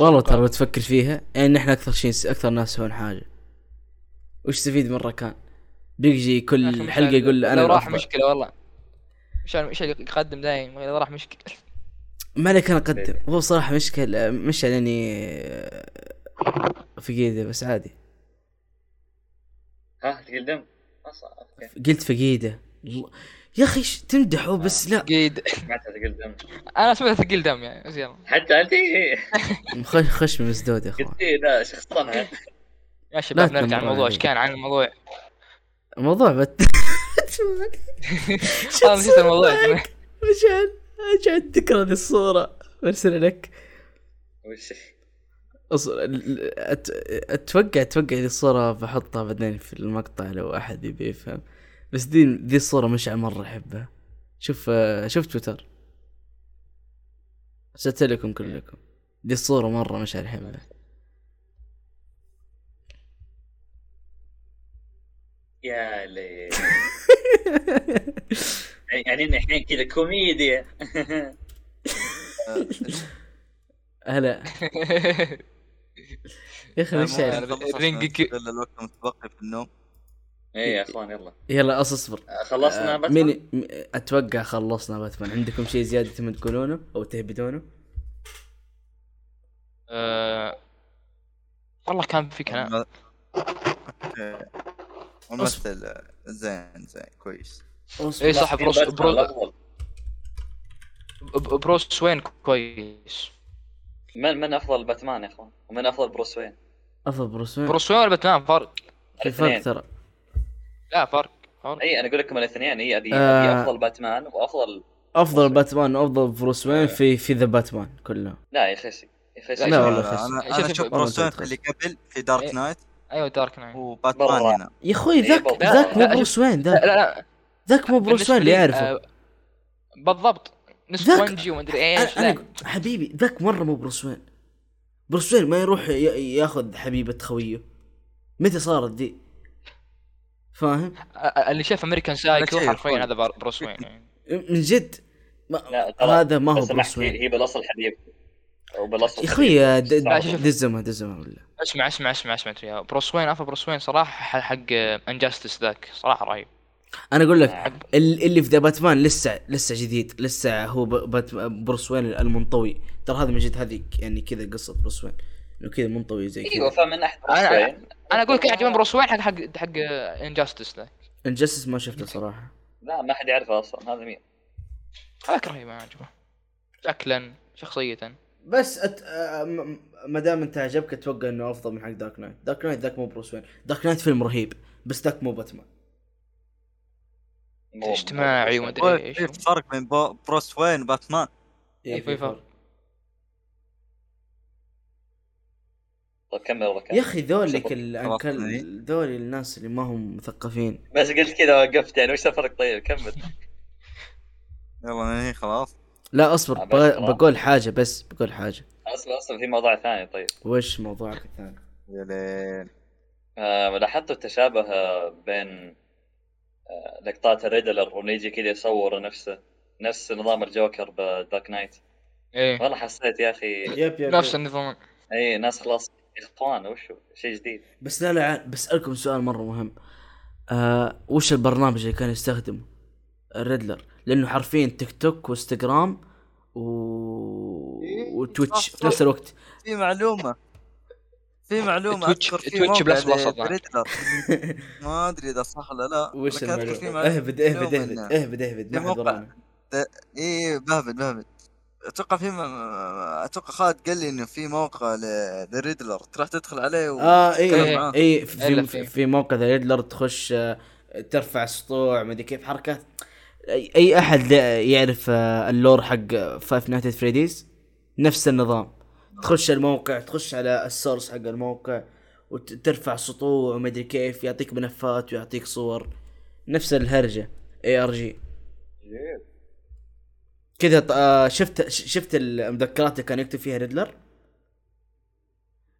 [SPEAKER 1] والله ترى لو تفكر فيها يعني احنا اكثر شيء اكثر ناس يسوون حاجه وش تستفيد من راكان بيجي
[SPEAKER 3] يا أخي
[SPEAKER 1] كل
[SPEAKER 3] مشعل،
[SPEAKER 1] حلقه يقول له انا
[SPEAKER 3] لو راح
[SPEAKER 1] الأفضل.
[SPEAKER 3] مشكله والله مشعل مشعل يقدم دايم لو راح مشكله
[SPEAKER 1] مالك انا اقدم هو صراحه مشكله مش لاني فقيده بس عادي
[SPEAKER 4] ها ثقيل دم أصلاً، أوكي.
[SPEAKER 1] قلت فقيده ل- يا اخي ش- تمدحه بس لا
[SPEAKER 3] قيد
[SPEAKER 4] سمعتها ثقيل دم
[SPEAKER 3] انا سمعت ثقيل دم يعني بس يلا
[SPEAKER 4] حتى انت إيه.
[SPEAKER 1] خش خش من مسدود يا اخوان
[SPEAKER 4] قلت إيه، لا شخصنا
[SPEAKER 3] يا شباب
[SPEAKER 1] لا
[SPEAKER 3] نرجع
[SPEAKER 1] تنبر
[SPEAKER 3] الموضوع ايش
[SPEAKER 1] علي.
[SPEAKER 3] كان عن الموضوع
[SPEAKER 1] الموضوع بت شو
[SPEAKER 3] انا نسيت
[SPEAKER 1] تصير
[SPEAKER 3] الموضوع
[SPEAKER 1] معك؟ عشان عشان تكره ذي الصوره برسلها لك
[SPEAKER 4] وش
[SPEAKER 1] أص... ال- أت... اتوقع اتوقع ذي الصوره بحطها بعدين في المقطع لو احد يبي يفهم بس دي ذي الصوره مشعل مره احبها شوف آه، شوف تويتر ارسلت لكم كلكم ذي الصوره مره مشعل احبها
[SPEAKER 4] يا ليل يعني إن الحين كذا كوميديا
[SPEAKER 1] هلا يا اخي
[SPEAKER 2] أنا
[SPEAKER 1] مش
[SPEAKER 2] مو
[SPEAKER 1] عارف.
[SPEAKER 2] قادر أخلص
[SPEAKER 3] الرينج
[SPEAKER 2] أصلاً
[SPEAKER 3] كي-
[SPEAKER 2] إلا الوقت المتبقي في النوم
[SPEAKER 4] ايه يا اخوان يلا
[SPEAKER 1] يلا أص اصبر
[SPEAKER 4] آه، خلصنا
[SPEAKER 1] آه،
[SPEAKER 4] باتمان
[SPEAKER 1] مين م- اتوقع خلصنا باتمان عندكم شيء زياده تبون تقولونه او تهبدونه
[SPEAKER 3] آه، والله كان في كلام
[SPEAKER 2] أوكي. ممثل آه، زين زين كويس
[SPEAKER 1] اصبر
[SPEAKER 3] اي صح
[SPEAKER 4] مين
[SPEAKER 3] بروس
[SPEAKER 4] باتمان
[SPEAKER 3] برو-
[SPEAKER 4] الأفضل؟
[SPEAKER 3] ب- بروس وين كويس
[SPEAKER 4] من من افضل باتمان يا اخوان ومن افضل بروس وين
[SPEAKER 1] افضل بروس وين؟
[SPEAKER 3] بروس وين ولا باتمان فرق
[SPEAKER 1] في
[SPEAKER 4] الاثنين.
[SPEAKER 1] فرق ترى
[SPEAKER 3] لا فرق فرق
[SPEAKER 4] اي انا اقول لكم الاثنين هي هذه
[SPEAKER 1] آه.
[SPEAKER 4] هذه افضل باتمان وافضل
[SPEAKER 1] افضل باتمان وافضل بروس وين في في ذا باتمان كلهم
[SPEAKER 4] لا يا خسي يا خسي
[SPEAKER 1] لا
[SPEAKER 2] آه،
[SPEAKER 1] والله
[SPEAKER 2] انا
[SPEAKER 1] خس-
[SPEAKER 2] انا
[SPEAKER 3] شوف-
[SPEAKER 2] اشوف
[SPEAKER 1] والله
[SPEAKER 2] بروس وين
[SPEAKER 1] خس-
[SPEAKER 2] في اللي قبل في دارك
[SPEAKER 3] إيه.
[SPEAKER 2] نايت
[SPEAKER 3] ايوه دارك نايت
[SPEAKER 2] وباتمان
[SPEAKER 4] برا.
[SPEAKER 2] هنا
[SPEAKER 1] يا اخوي
[SPEAKER 4] إيه،
[SPEAKER 1] ذاك
[SPEAKER 4] بالضبط.
[SPEAKER 1] ذاك مو
[SPEAKER 3] لا،
[SPEAKER 1] بروس وين
[SPEAKER 3] لا
[SPEAKER 1] ذاك
[SPEAKER 3] لا
[SPEAKER 1] ذاك مو بروس
[SPEAKER 3] بالنسبة
[SPEAKER 1] وين اللي
[SPEAKER 3] لي،
[SPEAKER 1] يعرفه
[SPEAKER 3] آه، بالضبط
[SPEAKER 1] ذاك-
[SPEAKER 3] نسخ وانجي ومدري ايش
[SPEAKER 1] أنا-
[SPEAKER 3] لا
[SPEAKER 1] انا أقول- حبيبي ذاك مره مو بروس وين بروس وين ما يروح ي- ياخذ حبيبه خويه متى صارت دي؟ فاهم؟
[SPEAKER 3] آه، اللي شاف امريكان
[SPEAKER 2] شايف
[SPEAKER 3] سايكو حرفيا
[SPEAKER 2] وين.
[SPEAKER 3] هذا بر- بروس وين يعني.
[SPEAKER 1] من جد ما
[SPEAKER 4] لا ترى-
[SPEAKER 1] هذا ما
[SPEAKER 4] لو
[SPEAKER 1] هو
[SPEAKER 4] سمحت
[SPEAKER 1] بروس
[SPEAKER 4] هي
[SPEAKER 1] وين
[SPEAKER 4] هي بالاصل حبيب او بالاصل
[SPEAKER 1] يا اخوي د-
[SPEAKER 4] لا،
[SPEAKER 3] شوف-
[SPEAKER 1] دزمها دزمها ولا
[SPEAKER 3] اسمع اسمع اسمع اسمع تريا. بروس وين افا بروس وين صراحه ح- حق انجاستس ذاك صراحه رهيب
[SPEAKER 1] انا اقول لك
[SPEAKER 4] نعم.
[SPEAKER 1] ال- اللي في ذا باتمان لسه لسه جديد لسه هو ب- بات بروس وين المنطوي ترى هذا من جد هذه ك- يعني كذا قصه بروس وين انه كذا منطوي زي
[SPEAKER 3] أيوه.
[SPEAKER 4] ايوه
[SPEAKER 1] كذا
[SPEAKER 4] فمن احد بروس
[SPEAKER 3] أنا-
[SPEAKER 4] وين
[SPEAKER 3] انا اقول لك يعجبني بروس وين حق حق حق انجاستس ذاك
[SPEAKER 1] انجستس ما شفته صراحه
[SPEAKER 4] لا ما حد يعرفه اصلا هذا مين
[SPEAKER 3] هذاك رهيب انا عجبه شكلا شخصيه
[SPEAKER 1] بس أت... آه، م- م- ما دام انت عجبك اتوقع انه افضل من حق دارك نايت دارك نايت ذاك مو بروس وين دارك نايت فيلم رهيب بس ذاك مو باتمان
[SPEAKER 4] مو-
[SPEAKER 3] اجتماعي
[SPEAKER 4] مو-
[SPEAKER 3] ومدري.
[SPEAKER 2] هو
[SPEAKER 3] إيش
[SPEAKER 2] في
[SPEAKER 3] هو؟
[SPEAKER 2] فرق بين بو- بروس وين وباتمان
[SPEAKER 3] إيه، في فرق.
[SPEAKER 4] طيب كمل والله كمل.
[SPEAKER 1] يا اخي ذولك
[SPEAKER 4] شوف.
[SPEAKER 1] ال-
[SPEAKER 2] خلاص،
[SPEAKER 1] أنكل- ذول الناس اللي ما هم مثقفين
[SPEAKER 4] بس قلت كذا وقفت يعني وش الفرق طيب كمل
[SPEAKER 2] يلا ننهي خلاص
[SPEAKER 1] لا اصبر
[SPEAKER 4] آه، بس
[SPEAKER 1] بق-
[SPEAKER 4] خلاص.
[SPEAKER 1] بقول حاجه بس بقول حاجه
[SPEAKER 4] اصلا اصلا في موضوع ثاني طيب
[SPEAKER 1] وش موضوعك الثاني
[SPEAKER 2] يا ليل
[SPEAKER 4] آه، لاحظت التشابه آه، بين آه، لقطات الريدلر وانه يجي كذا يصور نفسه نفس نظام الجوكر بدارك نايت
[SPEAKER 3] ايه
[SPEAKER 4] والله حسيت يا اخي
[SPEAKER 1] يب يب
[SPEAKER 3] نفس النظام
[SPEAKER 4] اي ناس خلاص اخوان وشو شيء جديد
[SPEAKER 1] بس لا لا عاد بسألكم سؤال مرة مهم آه وش البرنامج اللي كان يستخدمه الريدلر لأنه حرفيا تيك توك وانستغرام و...
[SPEAKER 2] إيه،
[SPEAKER 1] وتويتش
[SPEAKER 2] صح،
[SPEAKER 1] في نفس الوقت
[SPEAKER 2] في معلومه في معلومه
[SPEAKER 3] تويتش-
[SPEAKER 2] اذكر في
[SPEAKER 3] تويتش
[SPEAKER 2] موقع
[SPEAKER 3] بلس بلس
[SPEAKER 2] ل-
[SPEAKER 3] أطلع.
[SPEAKER 2] بريدلر. ما ادري اذا صح ولا لا
[SPEAKER 1] وش
[SPEAKER 2] لكن أذكر في
[SPEAKER 1] المعلومة
[SPEAKER 2] معلومة
[SPEAKER 1] اهبد اهبد
[SPEAKER 2] إنه-
[SPEAKER 1] اهبد اهبد اهبد ما
[SPEAKER 2] في
[SPEAKER 1] حد
[SPEAKER 2] موقع.
[SPEAKER 1] ورانا
[SPEAKER 2] ايه بهبل بهبل اتوقع في م... اتوقع خالد قال لي انه في موقع ل- لريدلر تروح تدخل عليه و...
[SPEAKER 1] اه
[SPEAKER 2] تتكلم
[SPEAKER 1] اي
[SPEAKER 2] معاه.
[SPEAKER 1] اي في,
[SPEAKER 3] إلا في.
[SPEAKER 1] في, في موقع ذا ريدلر تخش آه، ترفع سطوع ما ادري كيف حركات اي أي احد لا- يعرف آه، اللور حق فايف نايت فريديز نفس النظام تخش الموقع تخش على السورس حق الموقع وترفع سطوع وما ادري كيف يعطيك ملفات ويعطيك صور نفس الهرجه اي ار جي كذا ط- آه، شفت ش- شفت المذكرات اللي كان يكتب فيها ريدلر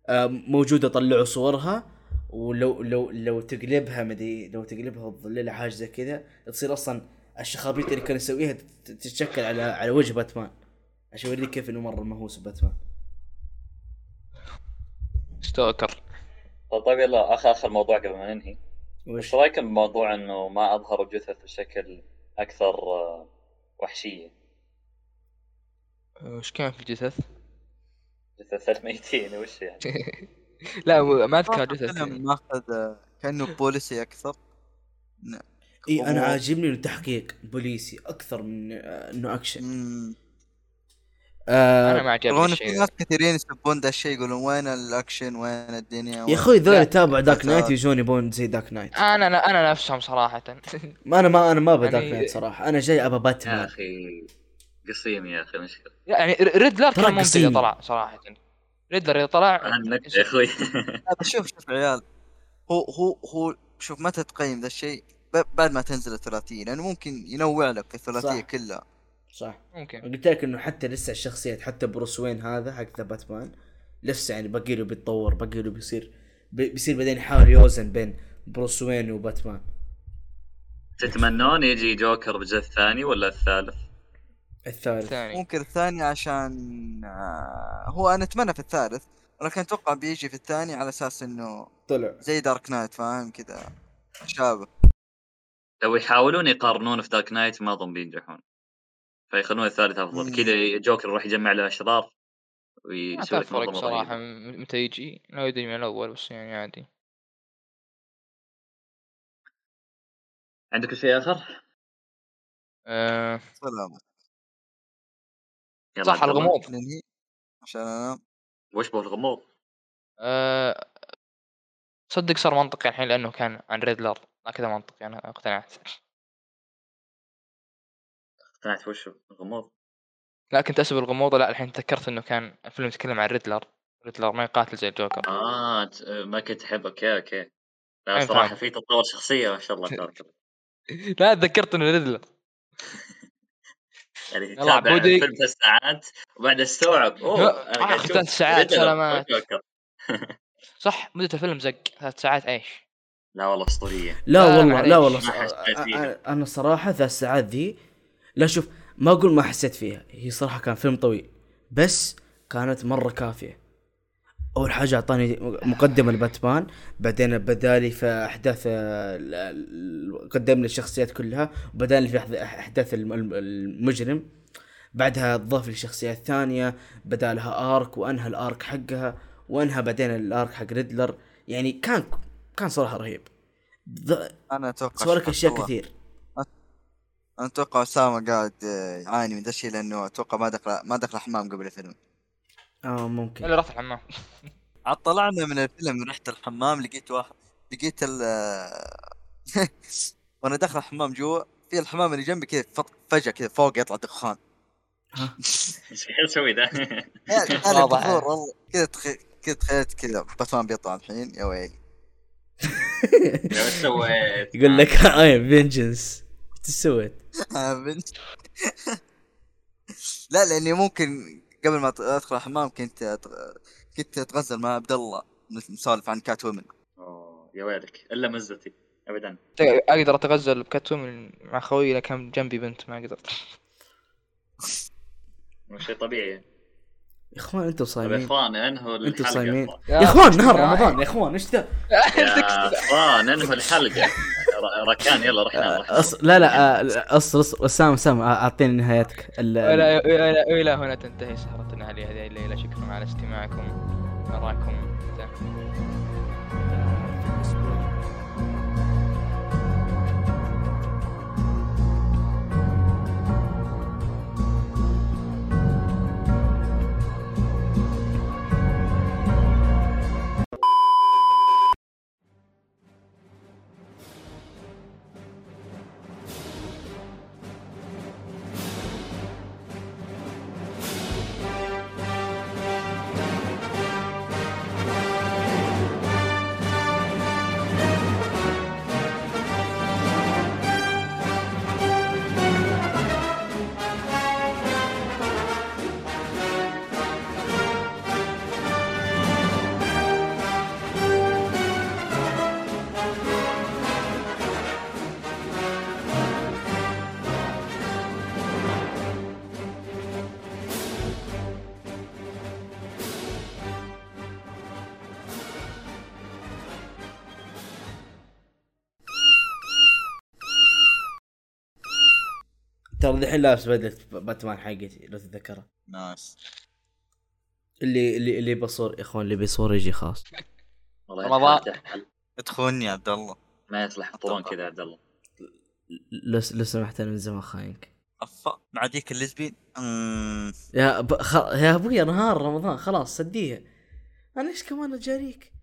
[SPEAKER 1] آه، موجوده طلعوا صورها ولو لو لو تقلبها مدري لو تقلبها وتظللها حاجه زي كذا تصير اصلا الشخابيط اللي كان يسويها تت- تتشكل على على وجه باتمان عشان يوريك كيف انه مره مهووس باتمان
[SPEAKER 3] ستوكر
[SPEAKER 4] طيب طيب يلا اخر اخر موضوع قبل ما ننهي
[SPEAKER 1] وش
[SPEAKER 4] ايش رايكم بموضوع انه ما اظهروا جثث بشكل اكثر آه، وحشيه
[SPEAKER 3] وش كان في الجثث؟
[SPEAKER 4] جثث الميتين وش يعني
[SPEAKER 3] لا و- ما اذكر
[SPEAKER 2] أتوقع
[SPEAKER 3] جثث
[SPEAKER 2] فيلم ماخذ كانه بوليسي اكثر نعم.
[SPEAKER 1] اي انا عاجبني انه تحقيق بوليسي اكثر من آه، انه اكشن
[SPEAKER 2] مم.
[SPEAKER 1] آه
[SPEAKER 3] انا ما عجبني
[SPEAKER 2] رغم في
[SPEAKER 3] الشيء
[SPEAKER 2] ناس كثيرين يسبون ذا الشيء يقولون وين الاكشن وين الدنيا
[SPEAKER 1] يا اخوي
[SPEAKER 3] لا.
[SPEAKER 1] ذول تابع داك
[SPEAKER 2] بس-
[SPEAKER 1] نايت يجون يبون زي داك نايت
[SPEAKER 3] انا لا انا نفسهم صراحه
[SPEAKER 1] ما انا ما انا ما ابى
[SPEAKER 3] يعني- آه.
[SPEAKER 1] داك نايت صراحه انا جاي ابى
[SPEAKER 4] يا
[SPEAKER 1] باتمان
[SPEAKER 4] اخي قصيم يا اخي مشكله
[SPEAKER 3] يعني ريدلر
[SPEAKER 1] ترى
[SPEAKER 3] كان ممتع
[SPEAKER 1] قصير.
[SPEAKER 3] اذا طلع صراحه ريدلر اذا طلع
[SPEAKER 4] عنك يا اخوي
[SPEAKER 2] هذا شوف شوف عيال هو هو هو شوف متى تقيم ذا الشيء ب- بعد ما تنزل الثلاثيه لانه ممكن ينوع لك الثلاثيه
[SPEAKER 1] صح.
[SPEAKER 2] كلها
[SPEAKER 1] صح
[SPEAKER 3] ممكن
[SPEAKER 1] قلت لك انه حتى لسه الشخصيات حتى بروس وين هذا حق ذا باتمان لسه يعني باقي له بيتطور باقي له بيصير بي- بيصير بعدين يحاول يوزن بين بروس وين وباتمان
[SPEAKER 4] تتمنون يجي جوكر بجث ثاني ولا الثالث؟
[SPEAKER 1] الثالث
[SPEAKER 3] الثاني
[SPEAKER 2] ممكن الثاني عشان آه، هو انا اتمنى في الثالث ولكن اتوقع بيجي في الثاني على اساس انه
[SPEAKER 1] طلع
[SPEAKER 2] زي دارك نايت فاهم كذا شابه
[SPEAKER 4] لو يحاولون يقارنون في دارك نايت ما اظن بينجحون فيخلون الثالث
[SPEAKER 2] مم.
[SPEAKER 4] افضل كذا جوكر يروح يجمع له اشرار
[SPEAKER 3] ما
[SPEAKER 4] ويسوي
[SPEAKER 3] تعرف
[SPEAKER 4] لك
[SPEAKER 3] فرق
[SPEAKER 4] منظومه
[SPEAKER 3] صراحة
[SPEAKER 4] رهيبه
[SPEAKER 3] م- متى يجي لا يدري من الأول بس يعني عادي
[SPEAKER 4] عندك شيء اخر؟
[SPEAKER 3] أه
[SPEAKER 2] سلام
[SPEAKER 4] يلا
[SPEAKER 3] صح
[SPEAKER 4] عبد الله.
[SPEAKER 3] الغموض
[SPEAKER 2] ننهي عشان انا
[SPEAKER 4] وش به الغموض؟
[SPEAKER 3] أه صدق صار منطقي الحين لأنه كان عن ريدلر لا كذا منطقي أنا اقتنعت
[SPEAKER 4] اقتنعت وش الغموض؟
[SPEAKER 3] لا كنت أسب الغموض لا الحين تذكرت إنه كان الفيلم يتكلم عن ريدلر ريدلر ما يقاتل زي الجوكر
[SPEAKER 4] اه ت- ما كنت احب اوكي اوكي لا
[SPEAKER 3] أنا
[SPEAKER 4] صراحه
[SPEAKER 3] فاهم.
[SPEAKER 4] في تطور شخصيه ما شاء الله تذكر
[SPEAKER 3] لا تذكرت إنه ريدلر
[SPEAKER 4] يعني
[SPEAKER 3] يلا
[SPEAKER 4] تتابع
[SPEAKER 3] عبودي.
[SPEAKER 4] فيلم ثلاث ساعات وبعد استوعب اوه
[SPEAKER 3] لا،
[SPEAKER 4] انا قاعد
[SPEAKER 3] آخر
[SPEAKER 4] أشوف
[SPEAKER 3] ثلاث ساعات
[SPEAKER 4] ريدلر
[SPEAKER 3] سلامات.
[SPEAKER 4] وجوكر.
[SPEAKER 3] صح مدة الفيلم زق ثلاث ساعات ايش
[SPEAKER 4] لا والله اسطوريه
[SPEAKER 1] لا
[SPEAKER 3] لا،
[SPEAKER 1] والله لا
[SPEAKER 3] معليش.
[SPEAKER 1] والله
[SPEAKER 4] ما حسيت فيها.
[SPEAKER 1] أ- أ- انا صراحه ذا الساعات ذي لا شوف ما اقول ما حسيت فيها هي صراحه كان فيلم طويل بس كانت مره كافيه اول حاجه اعطاني مقدمه لباتمان بعدين بدالي في احداث آه، ال- ال- قدمني الشخصيات كلها وبدالي في أحد- احداث الم- الم- المجرم بعدها ضاف لي شخصيات ثانيه بدالها ارك وانهى الارك حقها وانهى بعدين الارك حق ريدلر يعني كان كان صراحه رهيب ض-
[SPEAKER 2] انا اتوقع
[SPEAKER 1] سوالك اشياء
[SPEAKER 2] هو-
[SPEAKER 1] كثير
[SPEAKER 2] انا اتوقع اسامه قاعد آه، يعاني من ذا الشيء لانه اتوقع ما دخل ما دخل حمام قبل الفيلم
[SPEAKER 1] اه ممكن
[SPEAKER 3] اللي راح الحمام
[SPEAKER 2] عاد طلعنا من الفيلم رحت الحمام لقيت واحد لقيت ال آه، وانا داخل الحمام جوا في الحمام اللي جنبي كذا فط- فجاه كذا فوق يطلع دخان
[SPEAKER 1] ها
[SPEAKER 4] ايش قاعد اسوي ذا؟
[SPEAKER 2] يعني انا
[SPEAKER 3] واضح.
[SPEAKER 2] بحضور والله كذا تخي... كذا تخيلت كذا باتمان بيطلع الحين يا ويلي
[SPEAKER 4] لو إيش سويت؟
[SPEAKER 1] يقول لك آية، اي فينجنس ايش سويت؟
[SPEAKER 2] بنت لا لاني ممكن قبل ما أت- ادخل الحمام كنت أت- كنت اتغزل مع عبد الله نسولف عن كات وومن
[SPEAKER 4] أوه، آه، يا ويلك الا مزتي ابدا
[SPEAKER 3] اقدر اتغزل بكات وومن مع خوي لكن جنبي بنت ما قدرت
[SPEAKER 4] شيء طبيعي
[SPEAKER 1] يا اخوان انتم
[SPEAKER 4] طيب
[SPEAKER 1] صايمين
[SPEAKER 4] اخوان انهوا الحلقه
[SPEAKER 1] انتم صايمين
[SPEAKER 4] يا
[SPEAKER 1] يا اخوان نهار
[SPEAKER 3] آه.
[SPEAKER 1] رمضان يا اخوان ايش ذا؟
[SPEAKER 4] اخوان انهوا الحلقه ر- ركان يلا رحنا رحنا.
[SPEAKER 1] أص... لا لا آه، اصل اصل اسامه اسامه آه، اعطيني نهايتك ال...
[SPEAKER 3] ولا ولا والى هنا تنتهي سهرتنا هذه هذه الليله شكرا على استماعكم نراكم متى؟
[SPEAKER 1] ترى دحين لابس بدله باتمان حقتي لو تتذكرها
[SPEAKER 2] نايس
[SPEAKER 1] اللي اللي اللي بصور يا اخوان اللي بيصور يجي خاص
[SPEAKER 4] والله
[SPEAKER 3] رمضان.
[SPEAKER 4] يتحدى.
[SPEAKER 2] ادخلني يا عبد الله
[SPEAKER 4] ما يصلح يحطون كذا يا عبد الله
[SPEAKER 1] لو لو سمحت انا من زمان خاينك
[SPEAKER 2] افا مع ذيك الليزبين أمم.
[SPEAKER 1] يا ب... خ... يا ابوي نهار رمضان خلاص سديها انا ايش كمان اجاريك